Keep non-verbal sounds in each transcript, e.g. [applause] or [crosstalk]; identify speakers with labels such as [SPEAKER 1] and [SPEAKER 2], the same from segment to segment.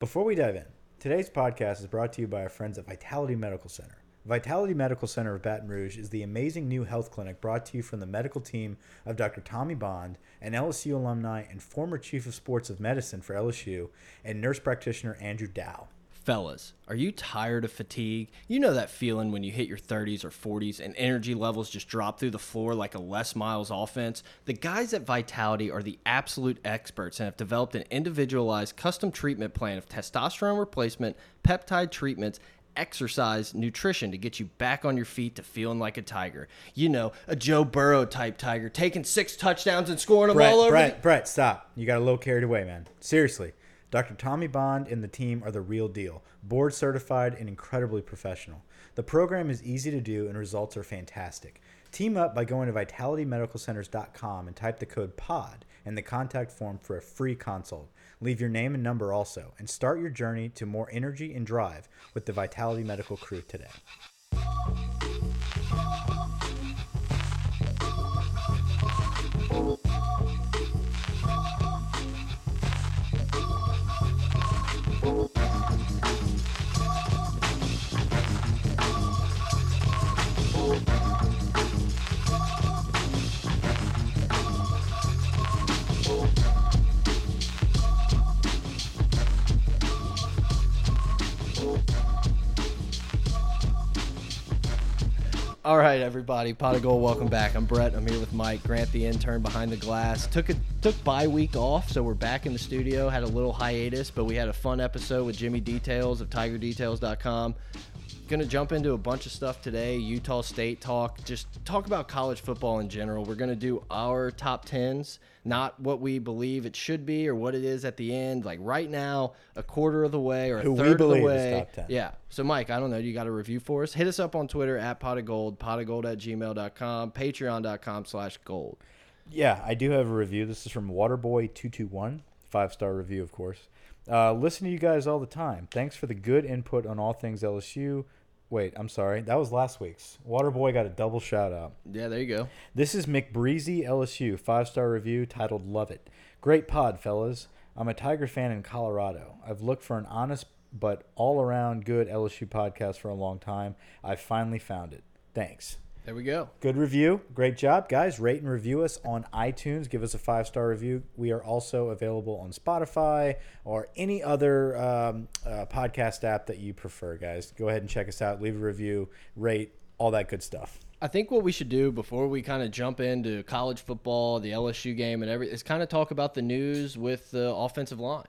[SPEAKER 1] Before we dive in, today's podcast is brought to you by our friends at Vitality Medical Center. Vitality Medical Center of Baton Rouge is the amazing new health clinic brought to you from the medical team of Dr. Tommy Bond, an LSU alumni and former chief of sports of medicine for LSU, and nurse practitioner Andrew Dow.
[SPEAKER 2] Fellas, are you tired of fatigue? You know that feeling when you hit your 30s or 40s and energy levels just drop through the floor like a Les Miles offense? The guys at Vitality are the absolute experts and have developed an individualized custom treatment plan of testosterone replacement, peptide treatments, exercise, nutrition to get you back on your feet to feeling like a tiger. You know, a Joe Burrow type tiger taking six touchdowns and scoring them
[SPEAKER 1] Brett,
[SPEAKER 2] all over
[SPEAKER 1] Brett, Brett, stop. You got a little carried away, man. Seriously. Dr. Tommy Bond and the team are the real deal, board certified and incredibly professional. The program is easy to do and results are fantastic. Team up by going to vitalitymedicalcenters.com and type the code POD in the contact form for a free consult. Leave your name and number also, and start your journey to more energy and drive with the Vitality Medical crew today.
[SPEAKER 2] All right, everybody, Pot of Gold, welcome back. I'm Brett. I'm here with Mike Grant, the intern behind the glass. Took a took bye week off, so we're back in the studio. Had a little hiatus, but we had a fun episode with Jimmy Details of TigerDetails.com. Going to jump into a bunch of stuff today. Utah State talk, just talk about college football in general. We're going to do our top tens, not what we believe it should be or what it is at the end. Like right now, a quarter of the way or a
[SPEAKER 1] Who we
[SPEAKER 2] third of the
[SPEAKER 1] believe is
[SPEAKER 2] way.
[SPEAKER 1] top 10.
[SPEAKER 2] Yeah, yeah. So, Mike, I don't know. You got a review for us? Hit us up on Twitter at pot of gold, pot of gold at gmail.com, patreon.com slash gold.
[SPEAKER 1] Yeah, I do have a review. This is from Waterboy221, five star review, of course. Uh, listen to you guys all the time. Thanks for the good input on all things LSU. Wait, I'm sorry. That was last week's. Waterboy got a double shout out.
[SPEAKER 2] Yeah, there you go.
[SPEAKER 1] This is McBreezy LSU, five star review titled Love It. Great pod, fellas. I'm a Tiger fan in Colorado. I've looked for an honest but all around good LSU podcast for a long time. I finally found it. Thanks.
[SPEAKER 2] There we go.
[SPEAKER 1] Good review. Great job, guys. Rate and review us on iTunes. Give us a five star review. We are also available on Spotify or any other um, uh, podcast app that you prefer, guys. Go ahead and check us out. Leave a review, rate, all that good stuff.
[SPEAKER 2] I think what we should do before we kind of jump into college football, the LSU game, and everything is kind of talk about the news with the offensive line.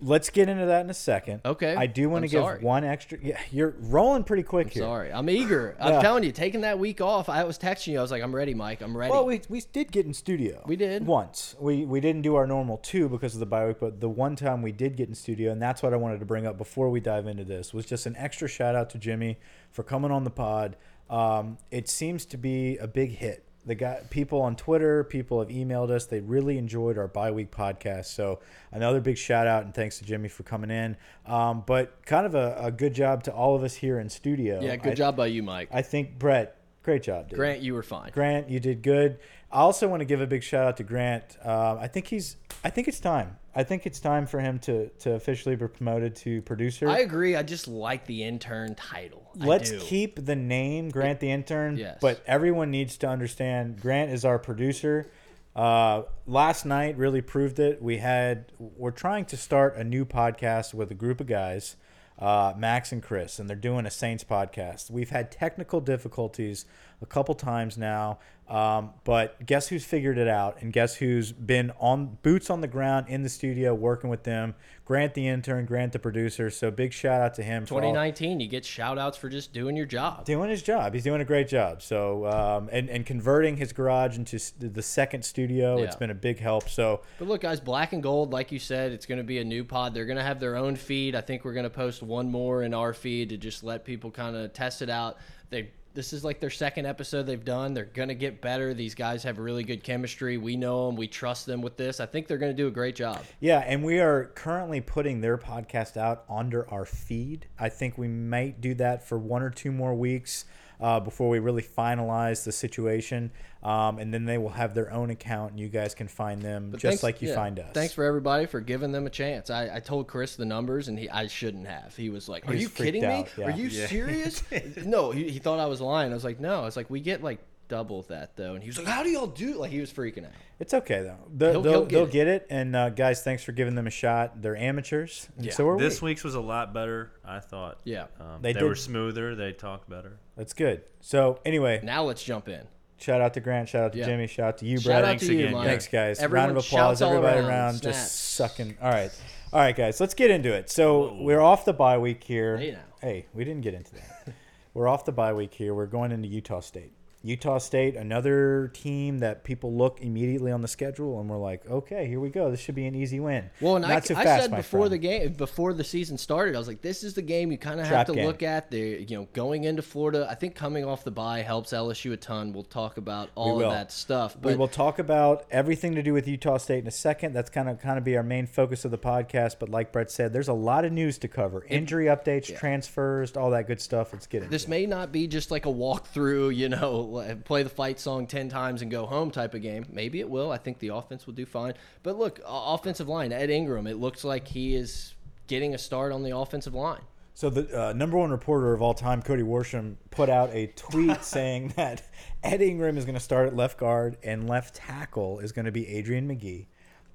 [SPEAKER 1] Let's get into that in a second.
[SPEAKER 2] Okay.
[SPEAKER 1] I do want to
[SPEAKER 2] I'm
[SPEAKER 1] give
[SPEAKER 2] sorry.
[SPEAKER 1] one extra. Yeah, you're rolling pretty quick here.
[SPEAKER 2] Sorry, I'm eager. I'm
[SPEAKER 1] Yeah.
[SPEAKER 2] telling you, taking that week off, I was texting you. I was like, I'm ready, Mike. I'm ready.
[SPEAKER 1] Well, we, we did get in studio.
[SPEAKER 2] We did.
[SPEAKER 1] Once. We we didn't do our normal two because of the bye week, but the one time we did get in studio, and that's what I wanted to bring up before we dive into this, was just an extra shout out to Jimmy for coming on the pod. Um, it seems to be a big hit. The guy, people on Twitter, people have emailed us. They really enjoyed our bye week podcast. So another big shout out and thanks to Jimmy for coming in. Um, but kind of a, a good job to all of us here in studio.
[SPEAKER 2] yeah, good
[SPEAKER 1] I,
[SPEAKER 2] job by you, Mike.
[SPEAKER 1] I think Brett, great job, dude.
[SPEAKER 2] Grant, you were fine.
[SPEAKER 1] Grant, you did good. I also want to give a big shout out to Grant. Um, I think he's. I think it's time. I think it's time for him to to officially be promoted to producer.
[SPEAKER 2] I agree. I just like the intern title. I
[SPEAKER 1] Let's
[SPEAKER 2] do.
[SPEAKER 1] keep the name Grant the intern.
[SPEAKER 2] Yes.
[SPEAKER 1] But everyone needs to understand Grant is our producer. Uh, last night really proved it. We had we're trying to start a new podcast with a group of guys, uh, Max and Chris, and they're doing a Saints podcast. We've had technical difficulties a couple times now, um, but guess who's figured it out, and guess who's been on boots on the ground in the studio working with them. Grant the intern, Grant the producer. So big shout out to him. for all-
[SPEAKER 2] 2019, you get shout outs for just doing your job.
[SPEAKER 1] doing his job. He's doing a great job. So um, and and converting his garage into s- the second studio, it's
[SPEAKER 2] Yeah.
[SPEAKER 1] been a big help. So
[SPEAKER 2] But look, guys, Black and Gold, like you said, it's going to be a new pod. They're going to have their own feed. I think we're going to post one more in our feed to just let people kind of test it out. They this is like their second episode they've done. They're going to get better. These guys have really good chemistry. We know them. We trust them with this. I think they're going to do a great job.
[SPEAKER 1] yeah, and we are currently putting their podcast out under our feed. I think we might do that for one or two more weeks. uh, before we really finalize the situation. Um, and then they will have their own account, and you guys can find them just
[SPEAKER 2] Thanks-
[SPEAKER 1] like you
[SPEAKER 2] yeah,
[SPEAKER 1] find us.
[SPEAKER 2] Thanks for everybody for giving them a chance. I, I told Chris the numbers, and he I shouldn't have. He was like, "Are
[SPEAKER 1] was
[SPEAKER 2] you
[SPEAKER 1] freaked
[SPEAKER 2] kidding me?
[SPEAKER 1] out, yeah.
[SPEAKER 2] Are you serious?" no, he, he thought I was lying. I was like, "No." I was like, "We get like double that though," and he was like, "How do y'all do?" Like he was freaking out.
[SPEAKER 1] It's okay though. They'll,
[SPEAKER 2] He'll-
[SPEAKER 1] they'll,
[SPEAKER 2] he'll
[SPEAKER 1] they'll
[SPEAKER 2] get
[SPEAKER 1] get,
[SPEAKER 2] it.
[SPEAKER 1] it. And uh, guys, thanks for giving them a shot. They're amateurs. and
[SPEAKER 2] Yeah.
[SPEAKER 1] So are
[SPEAKER 3] This
[SPEAKER 1] we.
[SPEAKER 3] week's was a lot better, I thought.
[SPEAKER 2] Yeah.
[SPEAKER 3] Um,
[SPEAKER 1] They
[SPEAKER 3] they
[SPEAKER 1] did-
[SPEAKER 3] were smoother. They talked better.
[SPEAKER 1] That's good. So anyway,
[SPEAKER 2] Now let's jump in.
[SPEAKER 1] shout out to Grant. Shout out to
[SPEAKER 2] Yeah.
[SPEAKER 1] Jimmy. Shout out to you,
[SPEAKER 2] Shout
[SPEAKER 1] Brad.
[SPEAKER 2] out
[SPEAKER 3] thanks
[SPEAKER 2] to you,
[SPEAKER 3] again,
[SPEAKER 2] Mike.
[SPEAKER 1] Thanks, guys.
[SPEAKER 2] Everyone
[SPEAKER 1] Round of
[SPEAKER 2] shouts
[SPEAKER 1] applause,
[SPEAKER 2] all
[SPEAKER 1] everybody around,
[SPEAKER 2] snaps.
[SPEAKER 1] just sucking. All right, all right, guys. Let's get into it. So we're off the bye week here.
[SPEAKER 2] Hey, now.
[SPEAKER 1] Hey, we didn't get into that. [laughs] we're off the bye week here. We're going into Utah State. Utah State, another team that people look immediately on the schedule and we're like, okay, here we go. This should be an easy win.
[SPEAKER 2] Well, and I,
[SPEAKER 1] Not so
[SPEAKER 2] I
[SPEAKER 1] fast,
[SPEAKER 2] said
[SPEAKER 1] my
[SPEAKER 2] before
[SPEAKER 1] friend.
[SPEAKER 2] the game, before the season started, I was like, "This is the game you kind of have
[SPEAKER 1] Trap
[SPEAKER 2] to
[SPEAKER 1] game.
[SPEAKER 2] look at." There, you know, going into Florida, I think coming off the bye helps LSU a ton. We'll talk about all
[SPEAKER 1] will.
[SPEAKER 2] of that stuff. But
[SPEAKER 1] we will talk about everything to do with Utah State in a second. That's kind of kind of be our main focus of the podcast. But like Brett said, there's a lot of news to cover: injury updates, transfers, all that good stuff. Let's get into
[SPEAKER 2] this
[SPEAKER 1] it.
[SPEAKER 2] may not be just like a walkthrough, [laughs] you know, like, play the fight song 10 times and go home type of game. Maybe it will. I think the offense will do fine. But look, o- offensive line, Ed Ingram, it looks like he is getting a start on the offensive line.
[SPEAKER 1] So the uh, number one reporter of all time, Cody Worsham, put out a
[SPEAKER 2] [laughs]
[SPEAKER 1] tweet saying that Ed Ingram is going to start at left guard and left tackle is going to be Adrian McGee.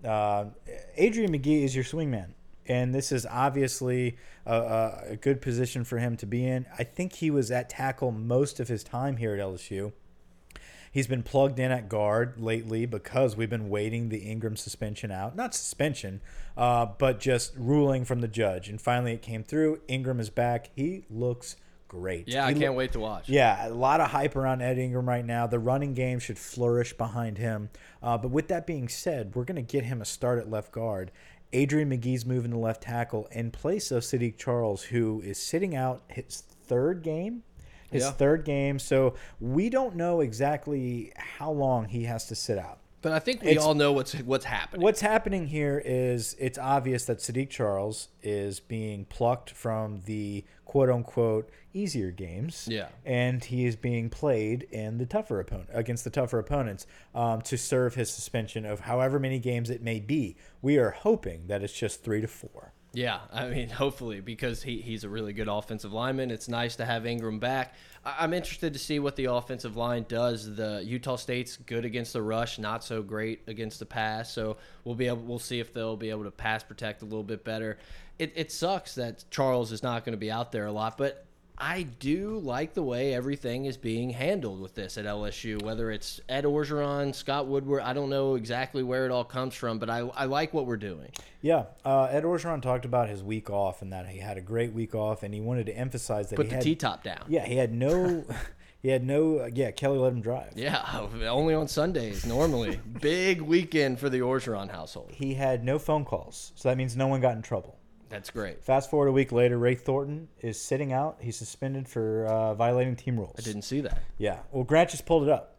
[SPEAKER 1] Uh, Adrian McGee is your swingman, and this is obviously a, a, a good position for him to be in. I think he was at tackle most of his time here at LSU. He's been plugged in at guard lately because we've been waiting the Ingram suspension out. Not suspension, uh, but just ruling from the judge. And finally it came through. Ingram is back. He looks great.
[SPEAKER 2] Yeah,
[SPEAKER 1] He
[SPEAKER 2] I
[SPEAKER 1] loo-
[SPEAKER 2] can't wait to watch.
[SPEAKER 1] yeah, a lot of hype around Ed Ingram right now. The running game should flourish behind him. Uh, but with that being said, we're going to get him a start at left guard. Adrian McGee's moving to left tackle in place of Sadiq Charles, who is sitting out his third game. His
[SPEAKER 2] Yeah.
[SPEAKER 1] third game. So we don't know exactly how long he has to sit out.
[SPEAKER 2] But I think we
[SPEAKER 1] It's-
[SPEAKER 2] all know what's what's happening.
[SPEAKER 1] What's happening here is it's obvious that Sadiq Charles is being plucked from the quote unquote easier games.
[SPEAKER 2] Yeah.
[SPEAKER 1] And he is being played in the tougher opponent against the tougher opponents um, to serve his suspension of however many games it may be. We are hoping that it's just three to four.
[SPEAKER 2] Yeah, [laughs] I mean, hopefully, because he, he's a really good offensive lineman. It's nice to have Ingram back. I, I'm interested to see what the offensive line does. The Utah State's good against the rush, not so great against the pass. So we'll be able, we'll see if they'll be able to pass protect a little bit better. It, it sucks that Charles is not going to be out there a lot, but I do like the way everything is being handled with this at LSU, whether it's Ed Orgeron, Scott Woodward. I don't know exactly where it all comes from, but I, I like what we're doing.
[SPEAKER 1] Yeah. Uh, Ed Orgeron talked about his week off and that he had a great week off and he wanted to emphasize that
[SPEAKER 2] Put
[SPEAKER 1] he
[SPEAKER 2] the
[SPEAKER 1] had
[SPEAKER 2] T top down.
[SPEAKER 1] Yeah, he had no [laughs] he had no uh, yeah, Kelly let him drive.
[SPEAKER 2] Yeah, [laughs] only on
[SPEAKER 1] [laughs]
[SPEAKER 2] Sundays normally. Big weekend for the Orgeron household.
[SPEAKER 1] he had no phone calls, so that means no one got in trouble.
[SPEAKER 2] That's great.
[SPEAKER 1] Fast forward a week later, Ray Thornton is sitting out. He's suspended for uh, violating team rules.
[SPEAKER 2] Didn't see that.
[SPEAKER 1] Yeah. Well, Grant just pulled it up.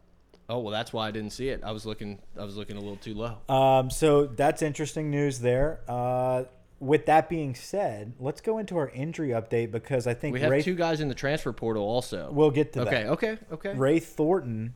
[SPEAKER 2] Oh well, that's why I didn't see it. I was looking. I was looking a little too low.
[SPEAKER 1] Um, so that's interesting news there. Uh, with that being said, let's go into our injury update because I think
[SPEAKER 2] We have
[SPEAKER 1] Ray.
[SPEAKER 2] two guys in the transfer portal also.
[SPEAKER 1] we'll get to
[SPEAKER 2] okay,
[SPEAKER 1] that.
[SPEAKER 2] okay, okay.
[SPEAKER 1] Ray Thornton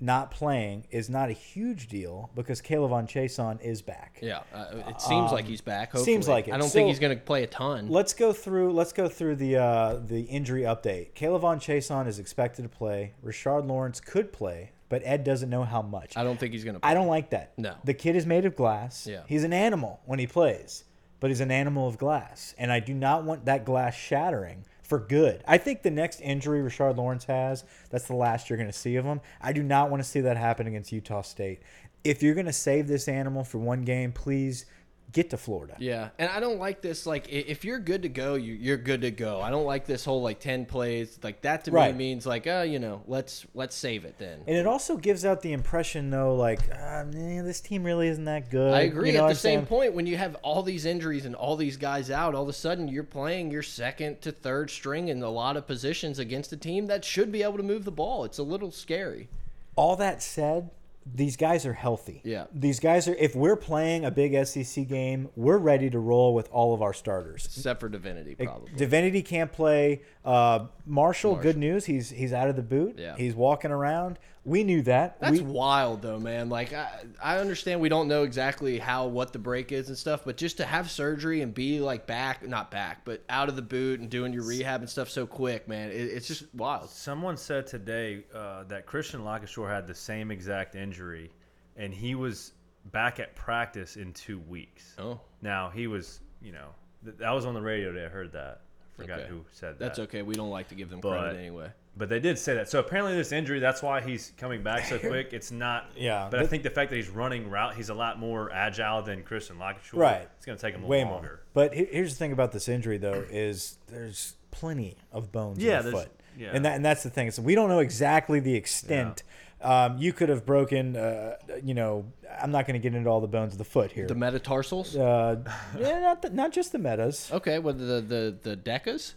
[SPEAKER 1] not playing is not a huge deal because Caleb on Chason is back.
[SPEAKER 2] Yeah, uh, it seems like he's back. Hopefully.
[SPEAKER 1] Um, seems like it.
[SPEAKER 2] I don't
[SPEAKER 1] So-
[SPEAKER 2] think he's going to play a ton.
[SPEAKER 1] Let's go through. Let's go through the uh, the injury update. Caleb Chason is expected to play. Richard Lawrence could play, but Ed doesn't know how much.
[SPEAKER 2] I don't think he's going to.
[SPEAKER 1] I don't like that.
[SPEAKER 2] No.
[SPEAKER 1] The kid is made of glass.
[SPEAKER 2] Yeah.
[SPEAKER 1] He's an animal when he plays, but he's an animal of glass. And I do not want that glass shattering for good. I think the next injury Richard Lawrence has, that's the last you're going to see of him. I do not want to see that happen against Utah State. If you're going to save this animal for one game, please get to Florida.
[SPEAKER 2] Yeah, and I don't like this. Like, i- if you're good to go, you- you're good to go. I don't like this whole like ten plays. Like that to
[SPEAKER 1] Right.
[SPEAKER 2] me means like, oh, you know, let's let's save it then.
[SPEAKER 1] And it also gives out the impression, though, like, ah, man, this team really isn't that good.
[SPEAKER 2] I agree.
[SPEAKER 1] You know
[SPEAKER 2] At
[SPEAKER 1] what
[SPEAKER 2] the
[SPEAKER 1] I'm saying?
[SPEAKER 2] same point, when you have all these injuries and all these guys out, all of a sudden you're playing your second to third string in a lot of positions against a team that should be able to move the ball. It's a little scary.
[SPEAKER 1] All that said, these guys are healthy.
[SPEAKER 2] Yeah.
[SPEAKER 1] These guys are. If we're playing a big SEC game, we're ready to roll with all of our starters.
[SPEAKER 2] except for Divinity, probably.
[SPEAKER 1] Divinity can't play. Uh, Marshall, good news. He's he's out of the boot.
[SPEAKER 2] Yeah.
[SPEAKER 1] He's walking around. We knew that.
[SPEAKER 2] That's
[SPEAKER 1] we,
[SPEAKER 2] wild, though, man. Like, I, I understand we don't know exactly how what the break is and stuff, but just to have surgery and be like back, not back, but out of the boot and doing your rehab and stuff so quick, man, it, it's just wild.
[SPEAKER 3] Someone said today uh, that Christian Lockishore had the same exact injury, and he was back at practice in two weeks.
[SPEAKER 2] Oh,
[SPEAKER 3] Now he was, you know, th- that was on the radio today. I heard that. I forgot
[SPEAKER 2] Okay.
[SPEAKER 3] who said that.
[SPEAKER 2] that's okay. We don't like to give them
[SPEAKER 3] But-
[SPEAKER 2] credit anyway.
[SPEAKER 3] But they did say that. So apparently, this injury, that's why he's coming back
[SPEAKER 1] [laughs]
[SPEAKER 3] so quick. It's not.
[SPEAKER 1] Yeah,
[SPEAKER 3] But I
[SPEAKER 1] but-
[SPEAKER 3] think the fact that he's running route, he's a lot more agile than Christian Lockishore.
[SPEAKER 1] Right.
[SPEAKER 3] It's going to take him a
[SPEAKER 1] way
[SPEAKER 3] little
[SPEAKER 1] more.
[SPEAKER 3] longer.
[SPEAKER 1] But he- here's the thing about this injury, though, is there's plenty of bones
[SPEAKER 3] Yeah,
[SPEAKER 1] in the
[SPEAKER 3] there's-
[SPEAKER 1] foot,
[SPEAKER 3] yeah.
[SPEAKER 1] and that and that's the thing. So we don't know exactly the extent. Um, you could have broken, uh, you know, I'm not going to get into all the bones of the foot here.
[SPEAKER 2] The metatarsals?
[SPEAKER 1] uh, yeah, not the, not just the metas.
[SPEAKER 2] Okay, what the the the decas?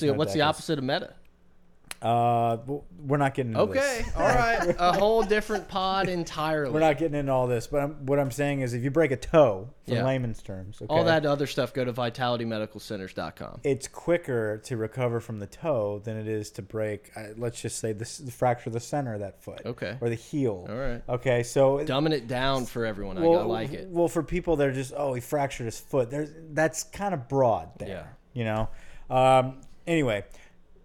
[SPEAKER 1] There's
[SPEAKER 2] the
[SPEAKER 1] no
[SPEAKER 2] what's the
[SPEAKER 1] decas.
[SPEAKER 2] opposite of meta?
[SPEAKER 1] Uh, w- we're not getting into this.
[SPEAKER 2] Okay,
[SPEAKER 1] [laughs]
[SPEAKER 2] all right, a whole different pod entirely.
[SPEAKER 1] We're not getting into all this, but I'm, what I'm saying is, if you break a toe, for
[SPEAKER 2] Yeah.
[SPEAKER 1] layman's terms, okay,
[SPEAKER 2] All that other stuff. Go to vitalitymedicalcenters.com.
[SPEAKER 1] it's quicker to recover from the toe than it is to break. Uh, let's just say this fracture the center of that foot,
[SPEAKER 2] Okay.
[SPEAKER 1] or the heel.
[SPEAKER 2] All right.
[SPEAKER 1] okay. So
[SPEAKER 2] Dumbing it down for everyone. I- I like it.
[SPEAKER 1] Well, for people that are just oh he fractured his foot, there's that's kind of broad there. You know. Um, anyway,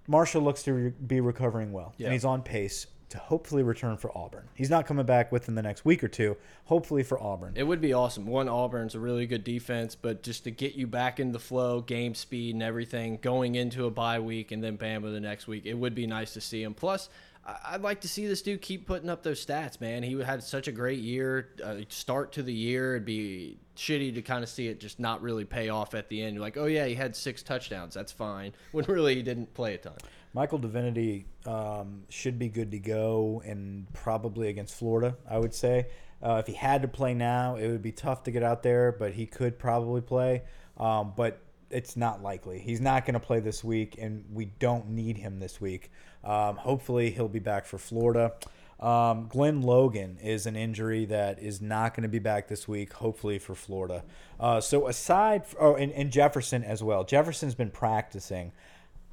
[SPEAKER 1] Marshall looks to re- be recovering well,
[SPEAKER 2] Yeah.
[SPEAKER 1] and he's on pace to hopefully return for Auburn. He's not coming back within the next week or two. Hopefully for Auburn.
[SPEAKER 2] It would be awesome. One, Auburn's a really good defense, but just to get you back in the flow, game speed, and everything going into a bye week and then Bama the next week, it would be nice to see him. Plus, I- I'd like to see this dude keep putting up those stats, man. He had such a great year, uh, start to the year. It'd be shitty to kind of see it just not really pay off at the end. You're like, oh, yeah, he had six touchdowns. That's fine. [laughs] When really he didn't play a ton.
[SPEAKER 1] Michael Divinity um, should be good to go, and probably against Florida, I would say. Uh, if he had to play now, it would be tough to get out there, but he could probably play. Um, but it's not likely. He's not going to play this week, and we don't need him this week. Um, hopefully, he'll be back for Florida. Um, Glenn Logan is an injury that is not going to be back this week, hopefully for Florida. Uh, so aside, f oh, and, and Jefferson as well. Jefferson's been practicing.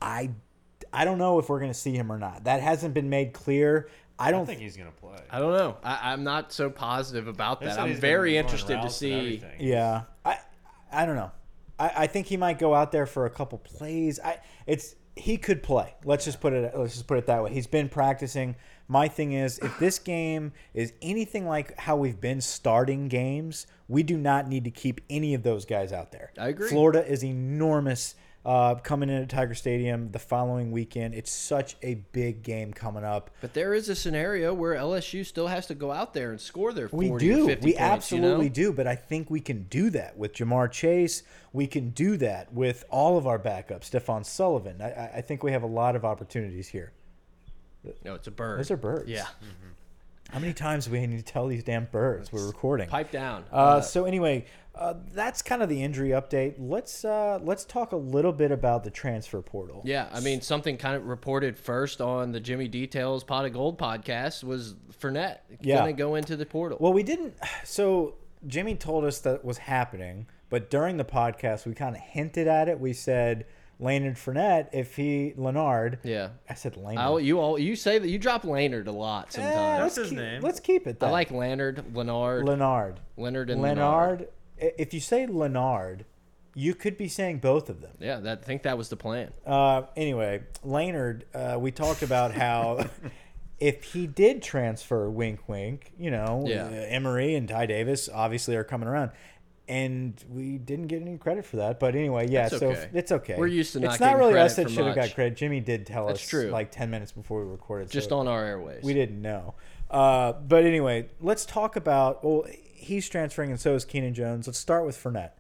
[SPEAKER 1] I I don't know if we're going to see him or not. That hasn't been made clear. I
[SPEAKER 3] I
[SPEAKER 1] don't
[SPEAKER 3] don't think
[SPEAKER 1] think.
[SPEAKER 3] he's going to play.
[SPEAKER 2] I don't know. I, I'm not so positive about
[SPEAKER 3] They
[SPEAKER 2] that.
[SPEAKER 3] said
[SPEAKER 2] I'm
[SPEAKER 3] he's gonna be
[SPEAKER 2] very
[SPEAKER 3] running
[SPEAKER 2] interested to
[SPEAKER 3] routes and
[SPEAKER 2] see.
[SPEAKER 3] everything.
[SPEAKER 1] Yeah, I I don't know. I, I think he might go out there for a couple plays. I it's he could play. Let's just put it. Let's just put it that way. He's been practicing. My thing is, if this game is anything like how we've been starting games, we do not need to keep any of those guys out there.
[SPEAKER 2] I agree.
[SPEAKER 1] Florida is enormous. Uh, coming in at Tiger Stadium the following weekend, it's such a big game coming up.
[SPEAKER 2] But there is a scenario where LSU still has to go out there and score their 40
[SPEAKER 1] We
[SPEAKER 2] or
[SPEAKER 1] do.
[SPEAKER 2] 50
[SPEAKER 1] We
[SPEAKER 2] points,
[SPEAKER 1] absolutely
[SPEAKER 2] you know?
[SPEAKER 1] do. But I think we can do that with Jamar Chase. We can do that with all of our backups. Stephon Sullivan. I- I, I think we have a lot of opportunities here.
[SPEAKER 2] No, it's a bird.
[SPEAKER 1] Those are birds.
[SPEAKER 2] Yeah.
[SPEAKER 1] How many times do we need to tell these damn birds we're recording?
[SPEAKER 2] Pipe down.
[SPEAKER 1] Uh, so anyway, uh, that's kind of the injury update. Let's uh, let's talk a little bit about the transfer portal.
[SPEAKER 2] yeah, I mean, something kind of reported first on the Jimmy Details Pot of Gold podcast was Fournette
[SPEAKER 1] Yeah.
[SPEAKER 2] going to go into the portal.
[SPEAKER 1] Well, we didn't. [sighs] So Jimmy told us that was happening, but during the podcast, we kind of hinted at it. We said Leonard Fournette, if he Leonard.
[SPEAKER 2] yeah.
[SPEAKER 1] I said Leonard.
[SPEAKER 2] I, you all you say that you drop Lannard a lot
[SPEAKER 1] Eh, let's
[SPEAKER 2] sometimes.
[SPEAKER 3] That's his
[SPEAKER 1] keep,
[SPEAKER 3] name.
[SPEAKER 1] Let's keep it.
[SPEAKER 2] I
[SPEAKER 1] Then.
[SPEAKER 2] like Leonard, Leonard,
[SPEAKER 1] Leonard.
[SPEAKER 2] Leonard, and Leonard.
[SPEAKER 1] Leonard. I- If you say Leonard, you could be saying both of them.
[SPEAKER 2] Yeah, that, I think that was the plan.
[SPEAKER 1] Uh, anyway, Leonard, uh, we talked about
[SPEAKER 2] [laughs]
[SPEAKER 1] how if he did transfer, wink, wink, you know,
[SPEAKER 2] Yeah.
[SPEAKER 1] uh, Emery and Ty Davis obviously are coming around. And we didn't get any credit for that, but anyway, yeah.
[SPEAKER 2] That's
[SPEAKER 1] so
[SPEAKER 2] okay.
[SPEAKER 1] it's okay.
[SPEAKER 2] We're used to not
[SPEAKER 1] It's not
[SPEAKER 2] getting
[SPEAKER 1] really us that
[SPEAKER 2] credit for
[SPEAKER 1] should have
[SPEAKER 2] much.
[SPEAKER 1] got credit. Jimmy did tell us
[SPEAKER 2] true.
[SPEAKER 1] like ten minutes before we recorded.
[SPEAKER 2] Just
[SPEAKER 1] so
[SPEAKER 2] on our airways.
[SPEAKER 1] Uh, we didn't know. Uh, but anyway, let's talk about. Well, he's transferring, and so is Keenan Jones. Let's start with Fournette.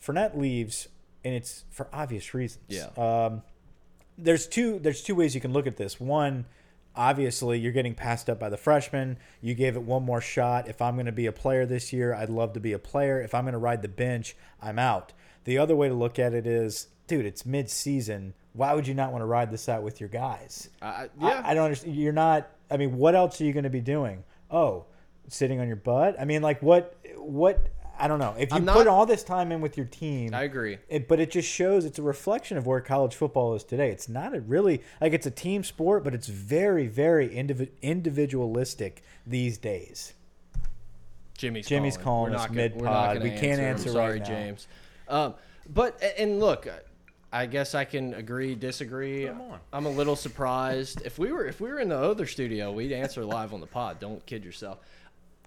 [SPEAKER 1] Fournette leaves, and it's for obvious reasons.
[SPEAKER 2] Yeah.
[SPEAKER 1] Um, there's two. There's two ways you can look at this. One, obviously, you're getting passed up by the freshman. You gave it one more shot. If I'm going to be a player this year, I'd love to be a player. If I'm going to ride the bench, I'm out. The other way to look at it is, dude, it's mid-season. Why would you not want to ride this out with your guys?
[SPEAKER 2] I- I-
[SPEAKER 1] I, I don't understand. You're not. I mean, what else are you going to be doing? Oh, sitting on your butt. I mean, like what what I don't know. If you
[SPEAKER 2] I'm
[SPEAKER 1] put
[SPEAKER 2] not-
[SPEAKER 1] all this time in with your team,
[SPEAKER 2] I agree.
[SPEAKER 1] it, but it just shows it's a reflection of where college football is today. It's not a really like it's a team sport, but it's very very indivi- individualistic these days.
[SPEAKER 2] Jimmy's
[SPEAKER 1] Jimmy's calling
[SPEAKER 2] We're
[SPEAKER 1] us
[SPEAKER 2] not gonna- we're not
[SPEAKER 1] mid-pod. We
[SPEAKER 2] gonna
[SPEAKER 1] can't
[SPEAKER 2] I'm
[SPEAKER 1] answer right
[SPEAKER 2] Sorry,
[SPEAKER 1] now.
[SPEAKER 2] James. Um, but a- and look, uh, I guess I can agree, disagree.
[SPEAKER 3] Come on.
[SPEAKER 2] I'm a little surprised. If we were if we were in the other studio, we'd answer live on the pod. Don't kid yourself.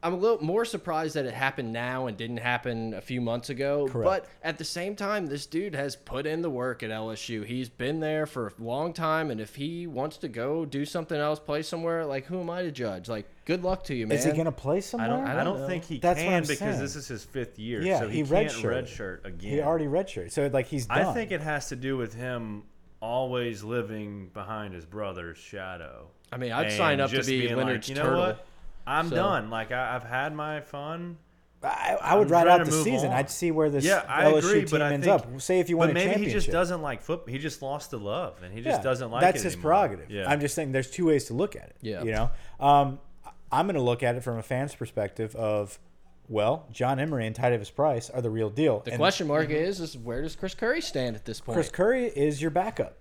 [SPEAKER 2] I'm a little more surprised that it happened now and didn't happen a few months ago. But
[SPEAKER 1] Correct.
[SPEAKER 2] at the same time, this dude has put in the work at LSU. He's been there for a long time, and if he wants to go do something else, play somewhere, like who am I to judge? Like, good luck to you, man.
[SPEAKER 1] Is he going to play somewhere?
[SPEAKER 3] I don't. I don't
[SPEAKER 2] know.
[SPEAKER 3] think he
[SPEAKER 1] That's what
[SPEAKER 3] can
[SPEAKER 1] I'm
[SPEAKER 3] because
[SPEAKER 1] saying.
[SPEAKER 3] this is his fifth year,
[SPEAKER 1] Yeah,
[SPEAKER 3] so he,
[SPEAKER 1] he
[SPEAKER 3] can't
[SPEAKER 1] redshirted.
[SPEAKER 3] redshirt again.
[SPEAKER 1] He already redshirted, so like he's done.
[SPEAKER 3] I think it has to do with him always living behind his brother's shadow.
[SPEAKER 2] I mean, I'd
[SPEAKER 3] And
[SPEAKER 2] sign up to
[SPEAKER 3] just
[SPEAKER 2] be
[SPEAKER 3] being
[SPEAKER 2] Leonard's
[SPEAKER 3] like, you know
[SPEAKER 2] turtle."
[SPEAKER 3] What? I'm
[SPEAKER 2] So-
[SPEAKER 3] done. Like I, I've had my fun.
[SPEAKER 1] I, I would
[SPEAKER 3] I'm
[SPEAKER 1] ride
[SPEAKER 3] trying
[SPEAKER 1] out
[SPEAKER 3] to
[SPEAKER 1] the
[SPEAKER 3] move
[SPEAKER 1] season.
[SPEAKER 3] on.
[SPEAKER 1] I'd see where this
[SPEAKER 3] Yeah, I
[SPEAKER 1] LSU
[SPEAKER 3] agree,
[SPEAKER 1] team
[SPEAKER 3] but I
[SPEAKER 1] ends
[SPEAKER 3] think
[SPEAKER 1] up. Say if you win
[SPEAKER 3] but
[SPEAKER 1] a
[SPEAKER 3] maybe he
[SPEAKER 1] championship,
[SPEAKER 3] just doesn't like football. He just lost the love, and he just
[SPEAKER 1] Yeah,
[SPEAKER 3] doesn't like
[SPEAKER 1] that's
[SPEAKER 3] it
[SPEAKER 1] his
[SPEAKER 3] anymore.
[SPEAKER 1] prerogative.
[SPEAKER 3] Yeah,
[SPEAKER 1] I'm just saying there's two ways to look at it.
[SPEAKER 2] Yeah.
[SPEAKER 1] you know, um, I- I'm going to look at it from a fan's perspective of, well, John Emery and Ty Davis Price are the real deal.
[SPEAKER 2] The
[SPEAKER 1] and Mm-hmm.
[SPEAKER 2] question mark is, is where does Chris Curry stand at this point?
[SPEAKER 1] Chris Curry is your backup.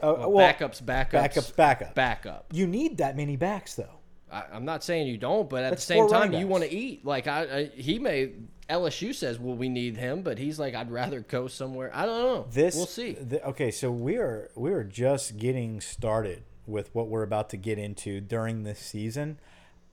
[SPEAKER 1] Uh, well,
[SPEAKER 2] backups, backups,
[SPEAKER 1] backups, backup.
[SPEAKER 2] backup.
[SPEAKER 1] You need that many backs though.
[SPEAKER 2] I, I'm not saying you don't, but at
[SPEAKER 1] That's
[SPEAKER 2] the same
[SPEAKER 1] four running
[SPEAKER 2] time, you
[SPEAKER 1] backs.
[SPEAKER 2] want to eat. Like I, I, he may LSU says, well, we need him, but he's like, I'd rather go somewhere. I don't know.
[SPEAKER 1] This
[SPEAKER 2] we'll see.
[SPEAKER 1] th- okay, so we are we are just getting started with what we're about to get into during this season.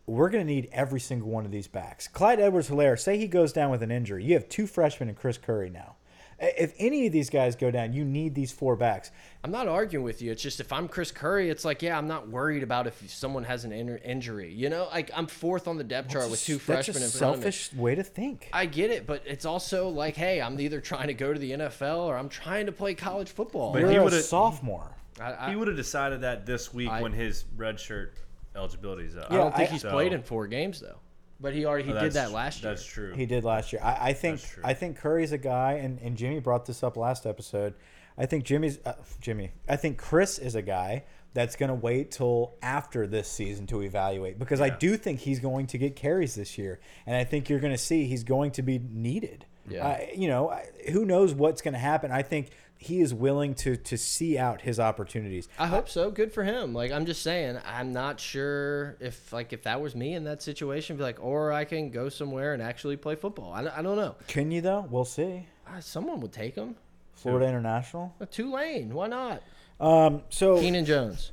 [SPEAKER 1] We're going to need every single one of these backs. Clyde Edwards Hilaire, say he goes down with an injury. You have two freshmen and Chris Curry now. I- If any of these guys go down, you need these four backs.
[SPEAKER 2] I'm not arguing with you. It's just if I'm Chris Curry, it's like, yeah, I'm not worried about if someone has an in injury. You know, like I'm fourth on the depth chart with two
[SPEAKER 1] That's a
[SPEAKER 2] freshmen in front of me.
[SPEAKER 1] selfish way to think.
[SPEAKER 2] I get it, but it's also like, hey, I'm either trying to go to the NFL or I'm trying to play college football.
[SPEAKER 3] But
[SPEAKER 1] You're
[SPEAKER 3] he
[SPEAKER 1] a
[SPEAKER 3] would've-
[SPEAKER 1] sophomore.
[SPEAKER 2] I, I,
[SPEAKER 3] he would have decided that this week
[SPEAKER 2] I-
[SPEAKER 3] when his redshirt eligibility is up.
[SPEAKER 1] Yeah,
[SPEAKER 2] I don't think
[SPEAKER 1] I-
[SPEAKER 2] he's
[SPEAKER 3] So-
[SPEAKER 2] played in four games though. But he already he did
[SPEAKER 3] That's-
[SPEAKER 2] that last year.
[SPEAKER 3] That's true.
[SPEAKER 1] He did last year. I, I think
[SPEAKER 3] That's true.
[SPEAKER 1] I think Curry's a guy, and, and Jimmy brought this up last episode. I think Jimmy's uh, Jimmy. I think Chris is a guy that's going to wait till after this season to evaluate because I do think he's going to get carries this year, and I think you're going to see he's going to be needed.
[SPEAKER 2] Yeah.
[SPEAKER 1] I- you know, I- who knows what's going to happen? I think he is willing to to see out his opportunities.
[SPEAKER 2] I hope so. Good for him. Like I'm just saying, I'm not sure if like if that was me in that situation, be like, or I can go somewhere and actually play football. I, don't- I don't know.
[SPEAKER 1] Can you though? We'll see.
[SPEAKER 2] Ah, Someone would take him.
[SPEAKER 1] Florida International.
[SPEAKER 2] A Tulane, why not?
[SPEAKER 1] Um. So
[SPEAKER 2] Keenan Jones.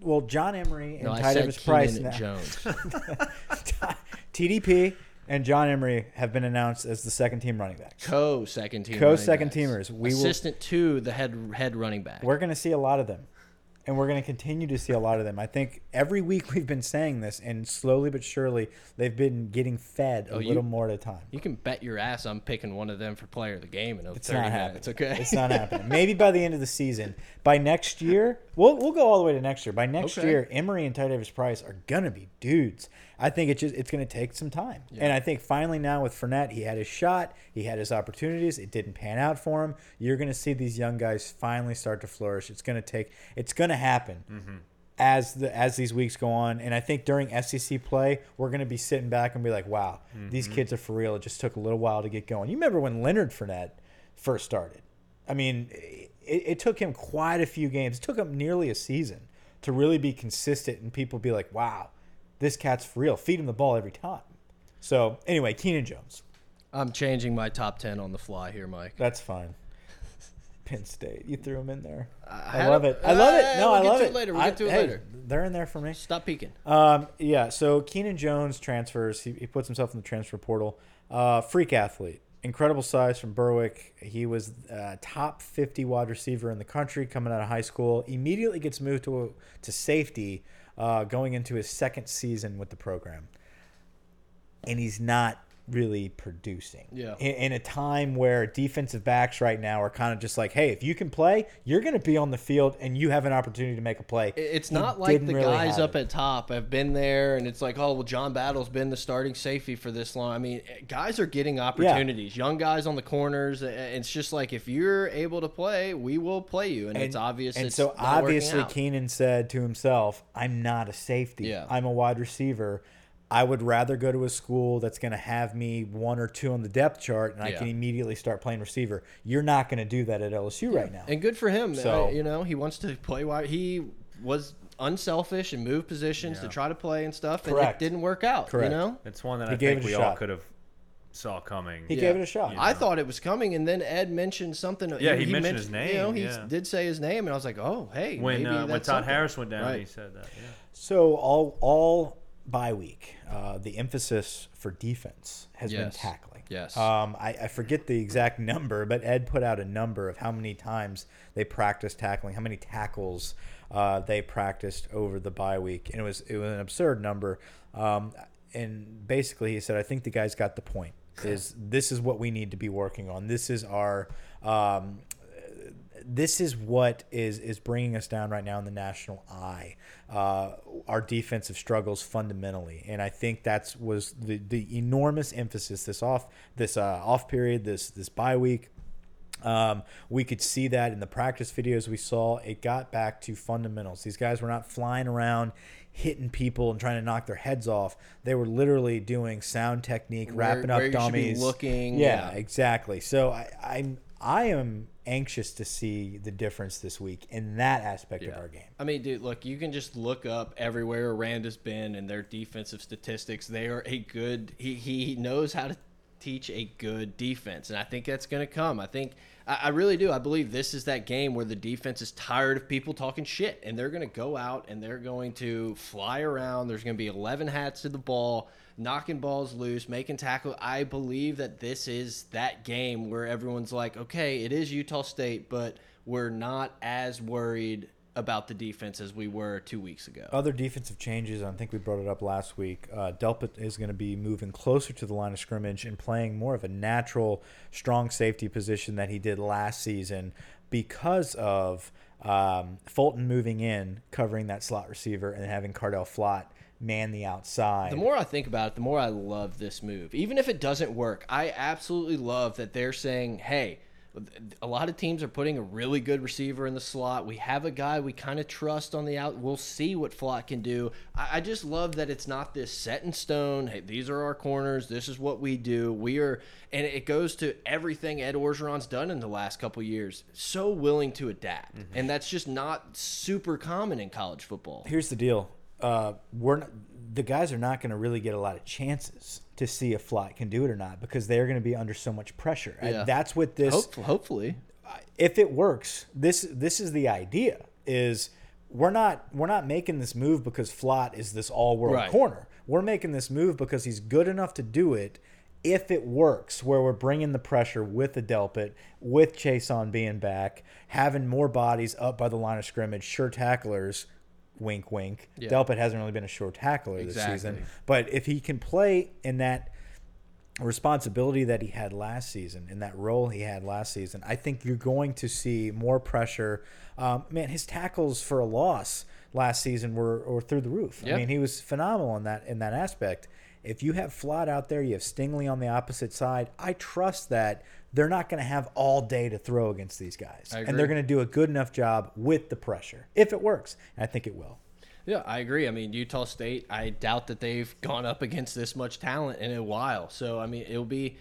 [SPEAKER 1] well, John Emery and
[SPEAKER 2] No, I
[SPEAKER 1] Ty
[SPEAKER 2] said
[SPEAKER 1] Davis Price.
[SPEAKER 2] Keenan
[SPEAKER 1] now-
[SPEAKER 2] Jones.
[SPEAKER 1] [laughs] TDP and John Emery have been announced as the second team running backs.
[SPEAKER 2] Co second team.
[SPEAKER 1] Co
[SPEAKER 2] running
[SPEAKER 1] second
[SPEAKER 2] backs.
[SPEAKER 1] teamers. We will,
[SPEAKER 2] Assistant to the head head running back.
[SPEAKER 1] we're going to see a lot of them. And we're going to continue to see a lot of them. I think every week we've been saying this, and slowly but surely they've been getting fed a
[SPEAKER 2] you-
[SPEAKER 1] little more at a time.
[SPEAKER 2] You can bet your ass I'm picking one of them for player of the game in
[SPEAKER 1] It's
[SPEAKER 2] 30
[SPEAKER 1] not happening.
[SPEAKER 2] minutes. Okay.
[SPEAKER 1] It's not happening. Maybe by the end of the season, by next year, we'll we'll go all the way to next year. By next
[SPEAKER 2] Okay.
[SPEAKER 1] year, Emory and Ty Davis Price are gonna be dudes. I think it's just it's gonna take some time. And I think finally now with Fournette, he had his shot, he had his opportunities. It didn't pan out for him. You're gonna see these young guys finally start to flourish. It's gonna take. It's gonna happen. As the as these weeks go on, and I think during SEC play, we're gonna be sitting back and be like, "Wow, these
[SPEAKER 2] Mm-hmm.
[SPEAKER 1] kids are for real." It just took a little while to get going. You remember when Leonard Fournette first started. I mean, it, it took him quite a few games. It took him nearly a season to really be consistent and people be like, wow, this cat's for real. Feed him the ball every time. So, anyway, Keenan Jones.
[SPEAKER 2] [laughs] I'm changing my top 10 on the fly here, Mike.
[SPEAKER 1] That's
[SPEAKER 2] [laughs]
[SPEAKER 1] fine. Penn State. You threw him in there. I,
[SPEAKER 2] had
[SPEAKER 1] love
[SPEAKER 2] him-
[SPEAKER 1] it. I love
[SPEAKER 2] Ah,
[SPEAKER 1] it. No,
[SPEAKER 2] we'll
[SPEAKER 1] I
[SPEAKER 2] get
[SPEAKER 1] love
[SPEAKER 2] to it
[SPEAKER 1] it.
[SPEAKER 2] later. We'll
[SPEAKER 1] I-
[SPEAKER 2] get to it
[SPEAKER 1] hey,
[SPEAKER 2] later.
[SPEAKER 1] They're in there for me.
[SPEAKER 2] Stop peeking.
[SPEAKER 1] Um, yeah, so Keenan Jones transfers. He, he puts himself in the transfer portal. Uh, freak athlete. Incredible size from Berwick. He was uh, top 50 wide receiver in the country coming out of high school. Immediately gets moved to, to safety uh, going into his second season with the program. And he's not really producing.
[SPEAKER 2] Yeah.
[SPEAKER 1] In, in a time where defensive backs right now are kind of just like, hey, if you can play, you're going to be on the field and you have an opportunity to make a play.
[SPEAKER 2] It's
[SPEAKER 1] He
[SPEAKER 2] not like
[SPEAKER 1] didn't
[SPEAKER 2] the
[SPEAKER 1] really
[SPEAKER 2] guys
[SPEAKER 1] have
[SPEAKER 2] up
[SPEAKER 1] it.
[SPEAKER 2] at top have been there and it's like, oh, well, John Battle's been the starting safety for this long. I mean, guys are getting opportunities. Young guys on the corners. uh, It's just like, if you're able to play, we will play you. And, it's obvious.
[SPEAKER 1] And
[SPEAKER 2] it's
[SPEAKER 1] so
[SPEAKER 2] not working
[SPEAKER 1] obviously,
[SPEAKER 2] out.
[SPEAKER 1] Keenan said to himself, "I'm not a safety.
[SPEAKER 2] Yeah.
[SPEAKER 1] I'm a wide receiver." I would rather go to a school that's going to have me one or two on the depth chart, and I
[SPEAKER 2] Yeah.
[SPEAKER 1] can immediately start playing receiver. You're not going to do that at LSU right now.
[SPEAKER 2] And good for him.
[SPEAKER 1] So-
[SPEAKER 2] uh, you know, he wants to play wide. He was unselfish and moved positions to try to play and stuff, and
[SPEAKER 1] Correct.
[SPEAKER 2] it didn't work out.
[SPEAKER 1] Correct.
[SPEAKER 2] You know,
[SPEAKER 3] It's one that I
[SPEAKER 1] gave
[SPEAKER 3] think
[SPEAKER 1] it a
[SPEAKER 3] we all
[SPEAKER 1] shot.
[SPEAKER 3] could have saw coming.
[SPEAKER 1] He gave it a shot.
[SPEAKER 2] I thought it was coming, and then Ed mentioned something.
[SPEAKER 3] Yeah, he mentioned his
[SPEAKER 2] You know,
[SPEAKER 3] name,
[SPEAKER 2] he
[SPEAKER 3] yeah.
[SPEAKER 2] did say his name, and I was like, oh, hey,
[SPEAKER 3] when
[SPEAKER 2] maybe
[SPEAKER 3] uh, when Todd
[SPEAKER 2] that's something.
[SPEAKER 3] Harris went down,
[SPEAKER 2] Right.
[SPEAKER 3] he said that. Yeah.
[SPEAKER 1] So all all bye week, uh, the emphasis for defense has been
[SPEAKER 2] Yes.
[SPEAKER 1] tackling.
[SPEAKER 2] Yes.
[SPEAKER 1] Um, I, I forget the exact [laughs] number, but Ed put out a number of how many times they practiced tackling, how many tackles uh, they practiced over the bye week, and it was it was an absurd number. Um, and basically, he said, "I think the guys got the point. Is this is what we need to be working on? This is our." Um, this is what is is bringing us down right now in the national eye. Uh, our defensive struggles fundamentally, and I think that's was the the enormous emphasis this off this uh, off period this this bye week. Um, we could see that in the practice videos we saw. It got back to fundamentals. These guys were not flying around, hitting people and trying to knock their heads off. They were literally doing sound technique, wrapping up
[SPEAKER 2] where you should be
[SPEAKER 1] dummies,
[SPEAKER 2] looking,
[SPEAKER 1] Yeah,
[SPEAKER 2] yeah.
[SPEAKER 1] exactly. So I, I'm I am anxious to see the difference this week in that aspect of our game.
[SPEAKER 2] I mean, dude, look, you can just look up everywhere Aranda's been and their defensive statistics. They are a good. He he knows how to teach a good defense, and I think that's going to come. I think I, I really do. I believe this is that game where the defense is tired of people talking shit, and they're going to go out and they're going to fly around. There's going to be eleven hats to the ball. Knocking balls loose, making tackle. I believe that this is that game where everyone's like, okay, it is Utah State, but we're not as worried about the defense as we were two weeks ago.
[SPEAKER 1] Other defensive changes, I think we brought it up last week. Uh, Delpit is going to be moving closer to the line of scrimmage and playing more of a natural, strong safety position that he did last season because of um, Fulton moving in, covering that slot receiver, and having Cardell Flott man the outside.
[SPEAKER 2] The more I think about it, the more I love this move. Even if it doesn't work, I absolutely love that they're saying, hey, a lot of teams are putting a really good receiver in the slot. We have a guy we kind of trust on the out. We'll see what Flock can do. I, I just love that it's not this set in stone. Hey, these are our corners. This is what we do. We are, and it goes to everything Ed Orgeron's done in the last couple years. So willing to adapt, and that's just not super common in college football.
[SPEAKER 1] here's the deal. Uh, we're not, the guys are not going to really get a lot of chances to see if Flott can do it or not because they're going to be under so much pressure. And
[SPEAKER 2] Yeah.
[SPEAKER 1] that's what this
[SPEAKER 2] Hope, hopefully,
[SPEAKER 1] if it works, this this is the idea is we're not we're not making this move because Flott is this all world
[SPEAKER 2] Right.
[SPEAKER 1] corner. We're making this move because he's good enough to do it if it works, where we're bringing the pressure with the Delpit, with Chase on being back, having more bodies up by the line of scrimmage, sure tacklers, wink wink. Delpit hasn't really been a sure tackler this season.
[SPEAKER 2] Exactly.
[SPEAKER 1] But if he can play in that responsibility that he had last season and that role he had last season, I think you're going to see more pressure. Um, man, his tackles for a loss last season were, were through the roof.
[SPEAKER 2] Yeah.
[SPEAKER 1] I mean, he was phenomenal in that in that aspect. If you have Flott out there, you have Stingley on the opposite side. I trust that they're not going to have all day to throw against these guys,
[SPEAKER 2] I
[SPEAKER 1] and they're
[SPEAKER 2] agree.
[SPEAKER 1] going to do a good enough job with the pressure if it works. And I think it will.
[SPEAKER 2] Yeah, I agree. I mean, Utah State, I doubt that they've gone up against this much talent in a while. So, I mean, it'll be.